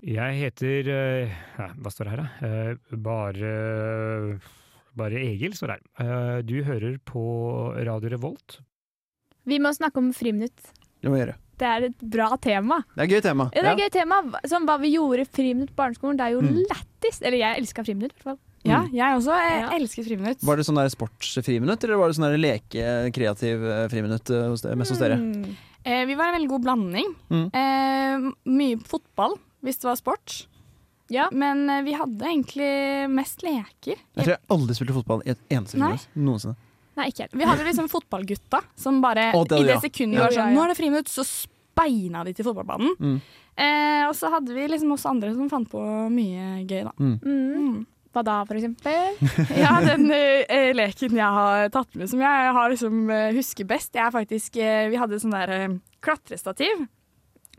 [SPEAKER 8] Jeg heter eh, ja, Hva står det her, da? Eh, Bare Bare Egil står det her. Eh, Du hører på Radio Revolt.
[SPEAKER 2] Vi må snakke om friminutt.
[SPEAKER 3] Det må jeg gjøre.
[SPEAKER 2] Det er et bra tema.
[SPEAKER 3] Det er et gøy tema.
[SPEAKER 2] Ja, det er et gøy tema. hva- Som hva vi gjorde i friminutt på barneskolen. Det er jo
[SPEAKER 3] Mm.
[SPEAKER 2] lættis. Eller jeg elska friminutt, i hvert fall.
[SPEAKER 4] Ja, jeg også. Jeg
[SPEAKER 2] Mm. Ja.
[SPEAKER 4] elsker friminutt.
[SPEAKER 3] Var det sånn der sportsfriminutt, eller var det sånn der leke-kreativ eh, friminutt eh, hos dere, mest hos dere?
[SPEAKER 2] Mm.
[SPEAKER 4] Eh, vi var en veldig god blanding.
[SPEAKER 3] Mm.
[SPEAKER 4] Eh, mye fotball, hvis det var sport.
[SPEAKER 2] Ja.
[SPEAKER 4] Men eh, vi hadde egentlig mest leker.
[SPEAKER 3] Jeg tror jeg aldri spilte fotball i et eneste
[SPEAKER 4] Nei.
[SPEAKER 3] friminutt. Noensinne.
[SPEAKER 2] Nei, ikke helt.
[SPEAKER 4] Vi hadde liksom fotballgutta som bare
[SPEAKER 3] Å, det-
[SPEAKER 4] i det
[SPEAKER 3] ja.
[SPEAKER 4] sekundet
[SPEAKER 2] Ja.
[SPEAKER 4] var
[SPEAKER 2] Ja,
[SPEAKER 4] sånn
[SPEAKER 2] ja, ja.
[SPEAKER 4] Nå er det friminutt, så speina de til fotballbanen.
[SPEAKER 3] Mm.
[SPEAKER 4] Eh, og så hadde vi liksom også andre som fant på mye gøy, da.
[SPEAKER 2] Mm.
[SPEAKER 4] Mm.
[SPEAKER 2] Hva da, for eksempel?
[SPEAKER 4] Ja, den eh, leken jeg har tatt med som jeg har liksom, eh, husker best, det er faktisk eh, Vi hadde sånn der eh, klatrestativ.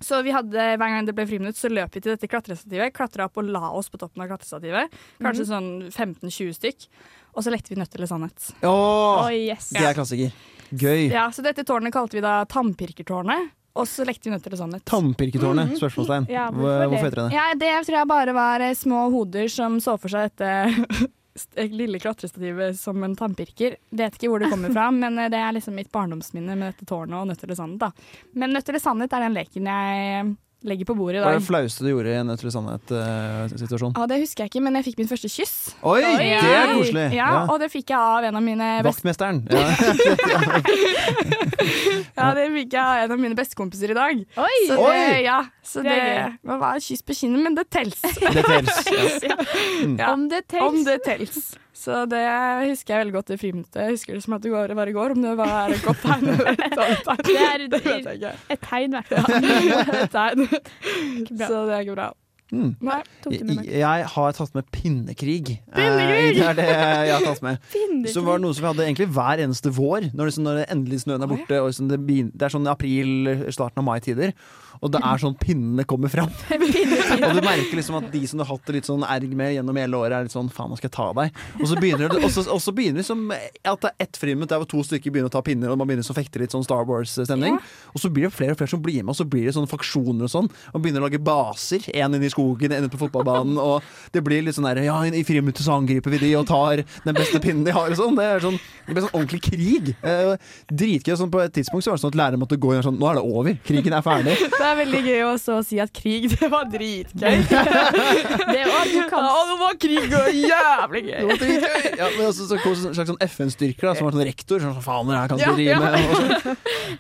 [SPEAKER 4] Så vi hadde, Hver gang det ble friminutt, så løp vi til dette klatrestativet, klatra opp og la oss på toppen av klatrestativet. Kanskje sånn 15-20 stykk. Og så lekte vi nødt eller sannhet.
[SPEAKER 2] Å,
[SPEAKER 3] Åh,
[SPEAKER 2] yes.
[SPEAKER 3] det er klassiker. Gøy.
[SPEAKER 4] Ja, Så dette tårnet kalte vi da Tannpirkertårnet. Og så lekte vi nødt eller sannhet.
[SPEAKER 3] Tannpirketårnet? Spørsmålstegn.
[SPEAKER 2] Ja,
[SPEAKER 3] Hvor-
[SPEAKER 2] hvorfor det?
[SPEAKER 3] Hvorfor heter det det?
[SPEAKER 4] Ja, det tror jeg bare var eh, små hoder som så for seg dette st- eh, lille klatrestativet som en tannpirker. Vet ikke hvor det kommer fra, men eh, det er liksom mitt barndomsminne med dette tårnet og Nødt eller sannhet. da. Men Nødt eller sannhet er den leken jeg eh, legger på bordet i
[SPEAKER 3] Hva er det
[SPEAKER 4] dag.
[SPEAKER 3] flaueste du gjorde i en eh, nødt eller sannhet-situasjon?
[SPEAKER 4] Ja, Det husker jeg ikke, men jeg fikk mitt første kyss.
[SPEAKER 3] Oi, det er koselig!
[SPEAKER 4] Ja, Og det fikk jeg av en av mine best
[SPEAKER 3] Vaktmesteren. Ja.
[SPEAKER 4] Ja, det fikk jeg av en av mine bestekompiser i dag.
[SPEAKER 2] Oi!
[SPEAKER 4] Så det,
[SPEAKER 3] Oi!
[SPEAKER 4] ja, så
[SPEAKER 2] Det
[SPEAKER 4] det,
[SPEAKER 2] er
[SPEAKER 4] det var kyss på kinnet, men det tels.
[SPEAKER 3] Det tels.
[SPEAKER 4] Ja.
[SPEAKER 2] Om det
[SPEAKER 4] Om
[SPEAKER 2] tels.
[SPEAKER 4] det tels. Så det husker jeg veldig godt i friminuttet. Jeg husker det som at det var, var i går, om det var et godt tegn. eller et dårlig tegn.
[SPEAKER 2] Det er et-
[SPEAKER 4] det vet jeg ikke.
[SPEAKER 2] Et tegn, i hvert fall.
[SPEAKER 4] Et tegn.
[SPEAKER 2] Ikke bra.
[SPEAKER 4] Så det er ikke bra.
[SPEAKER 3] Mm.
[SPEAKER 4] Nei.
[SPEAKER 2] Tok du med
[SPEAKER 3] Jeg
[SPEAKER 2] meg?
[SPEAKER 3] jeg har tatt med pinnekrig. Eh,
[SPEAKER 4] Pinnekrig!
[SPEAKER 3] Det er det jeg har tatt med.
[SPEAKER 2] Finner
[SPEAKER 3] Som var noe som vi hadde egentlig hver eneste vår, når, det, sånn- når det endelig snøen er borte. Og sånn det, begyn- det er sånn april, starten av mai-tider. Og
[SPEAKER 2] Mm.
[SPEAKER 3] det er sånn pinnene kommer fram. og du merker liksom at de som du har hatt det litt sånn erg med gjennom hele året, er litt sånn faen, nå skal jeg ta deg. Og så begynner det og så- og så begynner liksom at det er ett friminutt der hvor to stykker begynner å ta pinner, og man begynner så å fekte litt sånn Star Wars-stemning. Og så blir det flere og flere som blir med, og så blir det sånne faksjoner og sånn. Man begynner å lage baser. Én inne i skogen, én ute på fotballbanen. Og det blir litt sånn der Ja, i friminuttet så angriper vi de og tar den beste pinnen de har og sånn. Det er sånn Det blir sånn ordentlig krig. Eh, Dritgøy. Sånn på et tidspunkt så var det sånn at læreren måtte gå inn og sånn Nå er det over. Krigen er ferdig.
[SPEAKER 4] Det er veldig gøy også å si at krig, det var dritgøy.
[SPEAKER 2] Det var, du kan
[SPEAKER 4] Ja, det var krig og
[SPEAKER 3] Det
[SPEAKER 4] jævlig gøy.
[SPEAKER 3] var dritgøy. Ja, men også så kom det en slags sånn FN-styrker da, som var sånn rektor. Sånn faen, dere her kan ikke
[SPEAKER 4] Ja, ja.
[SPEAKER 3] drive med og sånn.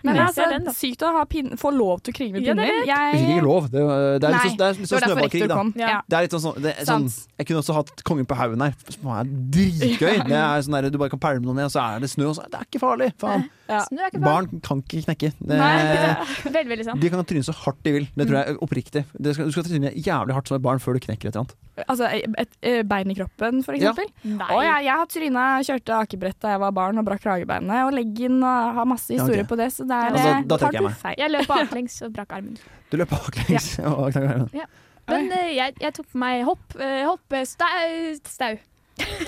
[SPEAKER 4] Men
[SPEAKER 2] Ja.
[SPEAKER 4] altså,
[SPEAKER 2] Ser den, da.
[SPEAKER 4] sykt å ha pin få lov til å krige med
[SPEAKER 2] Ja, det
[SPEAKER 3] Vi
[SPEAKER 4] pinner.
[SPEAKER 3] fikk
[SPEAKER 4] Jeg,
[SPEAKER 3] ikke lov. Det, var- det er litt sånn, det er litt
[SPEAKER 4] det
[SPEAKER 3] sånn
[SPEAKER 4] var derfor
[SPEAKER 3] snøballkrig,
[SPEAKER 4] rektor
[SPEAKER 3] da.
[SPEAKER 4] kom.
[SPEAKER 2] Ja.
[SPEAKER 4] Ja.
[SPEAKER 3] Det er litt sånn, sånn, det er sånn
[SPEAKER 4] Sant.
[SPEAKER 3] Jeg kunne også hatt Kongen på haugen her, som er dritgøy. Det er sånn der, du bare kan pælme noen ned, og så er det snø, og så det er ikke farlig. Faen.
[SPEAKER 4] Ja.
[SPEAKER 2] Snø er ikke farlig.
[SPEAKER 3] Barn kan ikke knekke. Det,
[SPEAKER 2] Nei, veldig, veldig sant.
[SPEAKER 3] de kan tryne så hardt de vil. Det tror jeg er oppriktig. Det skal, du skal tryne jævlig hardt som et barn før du knekker et eller annet.
[SPEAKER 4] Altså, et, eh, bein i kroppen, for
[SPEAKER 3] Ja.
[SPEAKER 4] eksempel.
[SPEAKER 2] Nei.
[SPEAKER 4] Å, jeg, jeg har tryna, kjørte akebrett da jeg var barn og brakk kragebeinet og leggen og har masse
[SPEAKER 3] Ja,
[SPEAKER 4] historier
[SPEAKER 3] ok.
[SPEAKER 4] på det, så det
[SPEAKER 3] Ja,
[SPEAKER 4] er
[SPEAKER 3] da-
[SPEAKER 4] eh,
[SPEAKER 3] da trekker
[SPEAKER 4] tar
[SPEAKER 3] jeg
[SPEAKER 4] du
[SPEAKER 3] meg.
[SPEAKER 4] feil.
[SPEAKER 2] Jeg løp baklengs og brakk armen.
[SPEAKER 3] Du løper baklengs. og knekker armen.
[SPEAKER 2] Men eh, jeg, jeg tok på meg hopp, eh, hoppestau stau.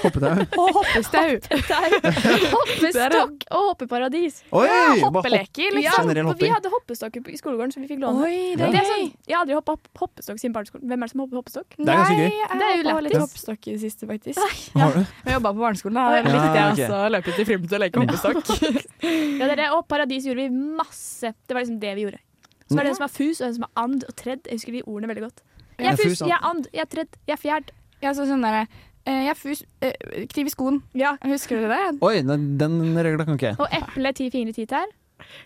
[SPEAKER 3] Hoppet jeg.
[SPEAKER 4] Og hoppestau.
[SPEAKER 2] Stau. Hoppestokk og hoppeparadis.
[SPEAKER 3] Oi! bare hopp.
[SPEAKER 4] Hoppeleker,
[SPEAKER 2] Ja,
[SPEAKER 4] liksom.
[SPEAKER 3] Generell
[SPEAKER 2] vi
[SPEAKER 3] hopping.
[SPEAKER 2] hadde hoppestokker på- i skolegården som vi fikk låne.
[SPEAKER 4] Oi,
[SPEAKER 2] Men det er
[SPEAKER 4] gøy.
[SPEAKER 2] sånn, jeg har aldri hoppa hoppestokk siden barneskolen. Hvem er det som hopper hoppestokk?
[SPEAKER 3] Det er ganske
[SPEAKER 4] Nei,
[SPEAKER 3] gøy.
[SPEAKER 4] jeg
[SPEAKER 2] Det er jo
[SPEAKER 4] hoppa litt
[SPEAKER 2] lættis.
[SPEAKER 4] hoppestokk i det siste, faktisk.
[SPEAKER 3] Har du?
[SPEAKER 4] Jeg jobba på barneskolen, da
[SPEAKER 3] Ja,
[SPEAKER 4] likte jeg
[SPEAKER 3] ok.
[SPEAKER 4] også å løpe ut i friminutt og leke hoppestokk.
[SPEAKER 2] Ja, det er det. Og paradis gjorde vi masse. Det var liksom det vi gjorde. Så var det en som er fus, og en som er and og tredd. Jeg husker de ordene veldig godt. Jeg
[SPEAKER 3] Ja,
[SPEAKER 2] er
[SPEAKER 3] fus,
[SPEAKER 2] fus, jeg
[SPEAKER 3] and.
[SPEAKER 2] er and, jeg er tredd, jeg er fjerd.
[SPEAKER 4] Ja, så sånn derre eh, Jeg fus... eh, kniv i skoen.
[SPEAKER 2] Ja.
[SPEAKER 4] Husker dere det?
[SPEAKER 3] Oi, den, den regla kan ikke jeg.
[SPEAKER 2] Og eple, ti fingre, ti tær.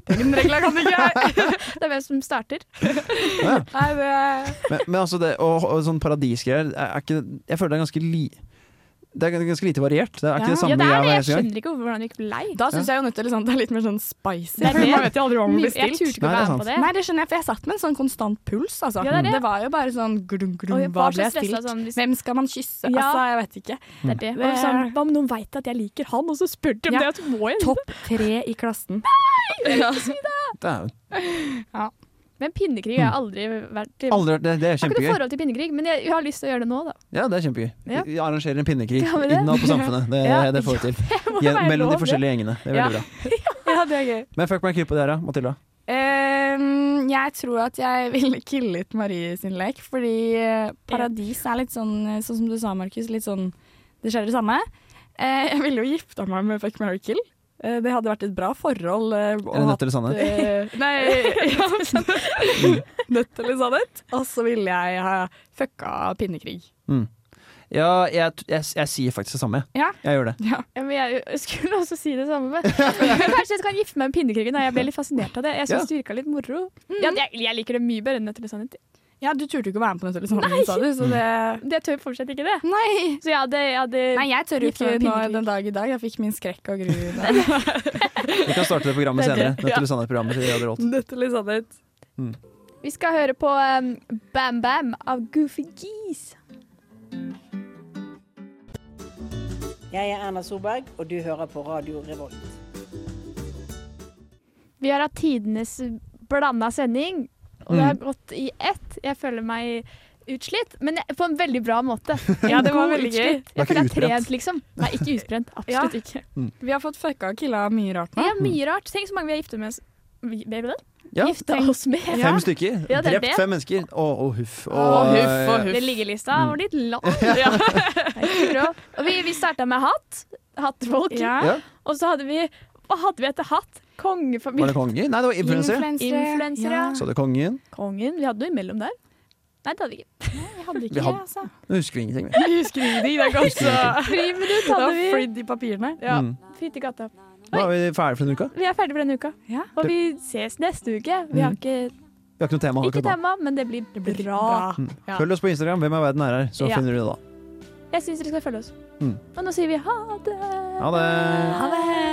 [SPEAKER 4] Den regla kan ikke jeg.
[SPEAKER 2] Det er hvem som starter.
[SPEAKER 3] Ja.
[SPEAKER 4] Nei, det-
[SPEAKER 3] Men, men altså, det, og, og sånn paradisgreier er- er ikke, Jeg føler det er ganske li... Det er ganske lite variert. Det er ikke
[SPEAKER 4] Ja.
[SPEAKER 3] det
[SPEAKER 2] Ja, det er
[SPEAKER 3] samme
[SPEAKER 2] det. Jeg
[SPEAKER 3] hver gang.
[SPEAKER 2] skjønner ikke hvorfor- hvordan vi ikke ble lei.
[SPEAKER 4] Da syns jeg jo nødt til liksom, det er litt mer sånn spicy.
[SPEAKER 2] Det er det.
[SPEAKER 4] Man vet jo aldri hva man blir
[SPEAKER 2] Jeg turte
[SPEAKER 4] stilt.
[SPEAKER 2] ikke å
[SPEAKER 3] Nei, det er
[SPEAKER 2] være
[SPEAKER 3] sant.
[SPEAKER 2] med på det.
[SPEAKER 4] Nei, det skjønner jeg, for jeg satt med en sånn konstant puls. Altså.
[SPEAKER 2] Ja, det er det.
[SPEAKER 4] var jo bare sånn glum, glum,
[SPEAKER 2] Og jeg
[SPEAKER 4] hva
[SPEAKER 2] var
[SPEAKER 4] ble
[SPEAKER 2] så
[SPEAKER 4] jeg
[SPEAKER 2] stressa
[SPEAKER 4] stilt?
[SPEAKER 2] sånn hvis
[SPEAKER 4] Hvem skal man kysse?
[SPEAKER 2] Ja.
[SPEAKER 4] Altså, jeg vet ikke.
[SPEAKER 2] det er det.
[SPEAKER 4] Det
[SPEAKER 2] Og sånn,
[SPEAKER 4] er-
[SPEAKER 2] hva om noen veit at jeg liker han, og så spør de om
[SPEAKER 4] Ja.
[SPEAKER 2] det, og så må jeg
[SPEAKER 4] Topp tre i klassen.
[SPEAKER 3] Ja. Det er jo
[SPEAKER 2] Men pinnekrig har jeg aldri vært til.
[SPEAKER 3] aldri vært det. Det
[SPEAKER 2] Jeg har
[SPEAKER 3] er
[SPEAKER 2] ikke noe
[SPEAKER 3] kjempegøy.
[SPEAKER 2] forhold til pinnekrig, men jeg, jeg har lyst til å gjøre det nå, da.
[SPEAKER 3] Ja, det er kjempegøy.
[SPEAKER 2] Ja.
[SPEAKER 3] Vi arrangerer en pinnekrig
[SPEAKER 2] Ja, men det-
[SPEAKER 3] innad på samfunnet. Det,
[SPEAKER 2] Ja.
[SPEAKER 3] det får vi til.
[SPEAKER 2] Det må
[SPEAKER 3] Gjennom-
[SPEAKER 2] være
[SPEAKER 3] Mellom de
[SPEAKER 2] lov, det.
[SPEAKER 3] forskjellige gjengene. Det er veldig bra.
[SPEAKER 2] Ja, det er gøy.
[SPEAKER 3] Men fuck meg krype det her, da, Matilda.
[SPEAKER 4] Ehm, jeg tror at jeg ville killet Marie sin lek, fordi eh, paradis er litt sånn, eh, sånn som du sa, Markus, litt sånn det skjer det samme. Eh, jeg ville jo gifta meg med Fuck Mary Kill. Eh, det hadde vært et bra forhold. eh, og
[SPEAKER 3] Eller
[SPEAKER 4] hatt,
[SPEAKER 3] nødt eller sannhet.
[SPEAKER 4] eh, nei, ja, sant. Nødt eller sannhet. Og så ville jeg ha fucka pinnekrig.
[SPEAKER 3] Ja, jeg, t- jeg, s- jeg sier faktisk det samme. jeg.
[SPEAKER 4] Ja.
[SPEAKER 3] Jeg gjør det.
[SPEAKER 2] Ja, men jeg skulle også si det samme. Men kanskje jeg kan gifte meg med pinnekrigen. da. Jeg ble litt fascinert av det. Jeg
[SPEAKER 3] Ja.
[SPEAKER 2] syns det virka litt moro.
[SPEAKER 4] Mm.
[SPEAKER 2] Ja, jeg, jeg liker det mye bedre enn Nødt eller sannhet.
[SPEAKER 4] Ja, du turte jo ikke å være med på Nødt eller sannhet, sa du, så det
[SPEAKER 2] Det tør fortsatt ikke det.
[SPEAKER 4] Nei.
[SPEAKER 2] Så jeg hadde, jeg hadde
[SPEAKER 4] Nei, jeg tør jo
[SPEAKER 2] Gifta meg med
[SPEAKER 4] ikke nå
[SPEAKER 2] pinnekrig.
[SPEAKER 4] den dag i dag. Jeg fikk min skrekk og gru. da.
[SPEAKER 3] Vi kan starte det programmet
[SPEAKER 2] Det er det.
[SPEAKER 3] senere. Nødt eller sannhet-programmet til Radio Revolt.
[SPEAKER 4] Nødt eller sannhet.
[SPEAKER 2] Vi skal høre på um, Bam Bam av Goofy Geese.
[SPEAKER 9] Jeg er Erna Solberg, og du hører på Radio Revolt.
[SPEAKER 2] Vi har hatt tidenes blanda sending, og
[SPEAKER 3] Mm.
[SPEAKER 2] det har gått i ett. Jeg føler meg utslitt, men jeg, på en veldig bra måte.
[SPEAKER 4] Ja,
[SPEAKER 2] En
[SPEAKER 4] det var
[SPEAKER 2] god
[SPEAKER 4] veldig gøy.
[SPEAKER 2] utslitt.
[SPEAKER 3] Det er
[SPEAKER 2] Jeg føler jeg
[SPEAKER 3] ikke
[SPEAKER 2] er trent, liksom. Nei, ikke utbrent. Absolutt ikke.
[SPEAKER 4] Vi har fått fucka og killa mye rart nå.
[SPEAKER 2] Det er mye rart. Tenk så mange vi har gifta med oss vi- Baby, da.
[SPEAKER 3] Ja.
[SPEAKER 2] Gifta oss med.
[SPEAKER 3] Fem stykker.
[SPEAKER 2] Ja, det er
[SPEAKER 3] Drept
[SPEAKER 2] det.
[SPEAKER 3] fem mennesker. Å, å, huff. Å,
[SPEAKER 4] huff, å, huff.
[SPEAKER 2] Den liggelista
[SPEAKER 3] Mm.
[SPEAKER 2] var litt lang. Ja. Det er ikke bra. Og vi, vi starta med hatt. Hattfolk.
[SPEAKER 4] Ja.
[SPEAKER 3] Ja.
[SPEAKER 2] Og så hadde vi Hva hadde vi etter hatt?
[SPEAKER 3] Var det
[SPEAKER 2] Kongefamilie.
[SPEAKER 3] konge? Nei, det var influencer.
[SPEAKER 2] Influencer, ja.
[SPEAKER 3] Så det kongen.
[SPEAKER 2] Kongen. Vi hadde noe imellom der. Nei, det hadde vi ikke.
[SPEAKER 4] Jeg hadde ikke
[SPEAKER 3] Vi hadde-
[SPEAKER 4] det, altså.
[SPEAKER 3] Nå husker vi ingenting.
[SPEAKER 4] Vi husker ingenting. Det er godt så
[SPEAKER 2] Friminutt
[SPEAKER 4] Det
[SPEAKER 2] hadde
[SPEAKER 4] var
[SPEAKER 2] vi.
[SPEAKER 4] flidd i papirene.
[SPEAKER 2] Ja.
[SPEAKER 3] Mm.
[SPEAKER 2] Fytti gata.
[SPEAKER 3] Nå er vi ferdige for denne uka.
[SPEAKER 2] Vi er ferdig for denne uka.
[SPEAKER 4] Ja.
[SPEAKER 2] Og vi ses neste uke. Vi
[SPEAKER 3] Mm.
[SPEAKER 2] har ikke,
[SPEAKER 3] Vi har ikke noe tema
[SPEAKER 2] ikke
[SPEAKER 3] akkurat nå.
[SPEAKER 2] tema, men det blir bra.
[SPEAKER 4] Ja.
[SPEAKER 3] Følg oss på Instagram. Hvem er verden er her? Så
[SPEAKER 2] Ja.
[SPEAKER 3] finner du det da.
[SPEAKER 2] Jeg syns dere skal følge oss.
[SPEAKER 3] Mm.
[SPEAKER 2] Og nå sier vi ha det.
[SPEAKER 3] Ha det.
[SPEAKER 2] Ha det.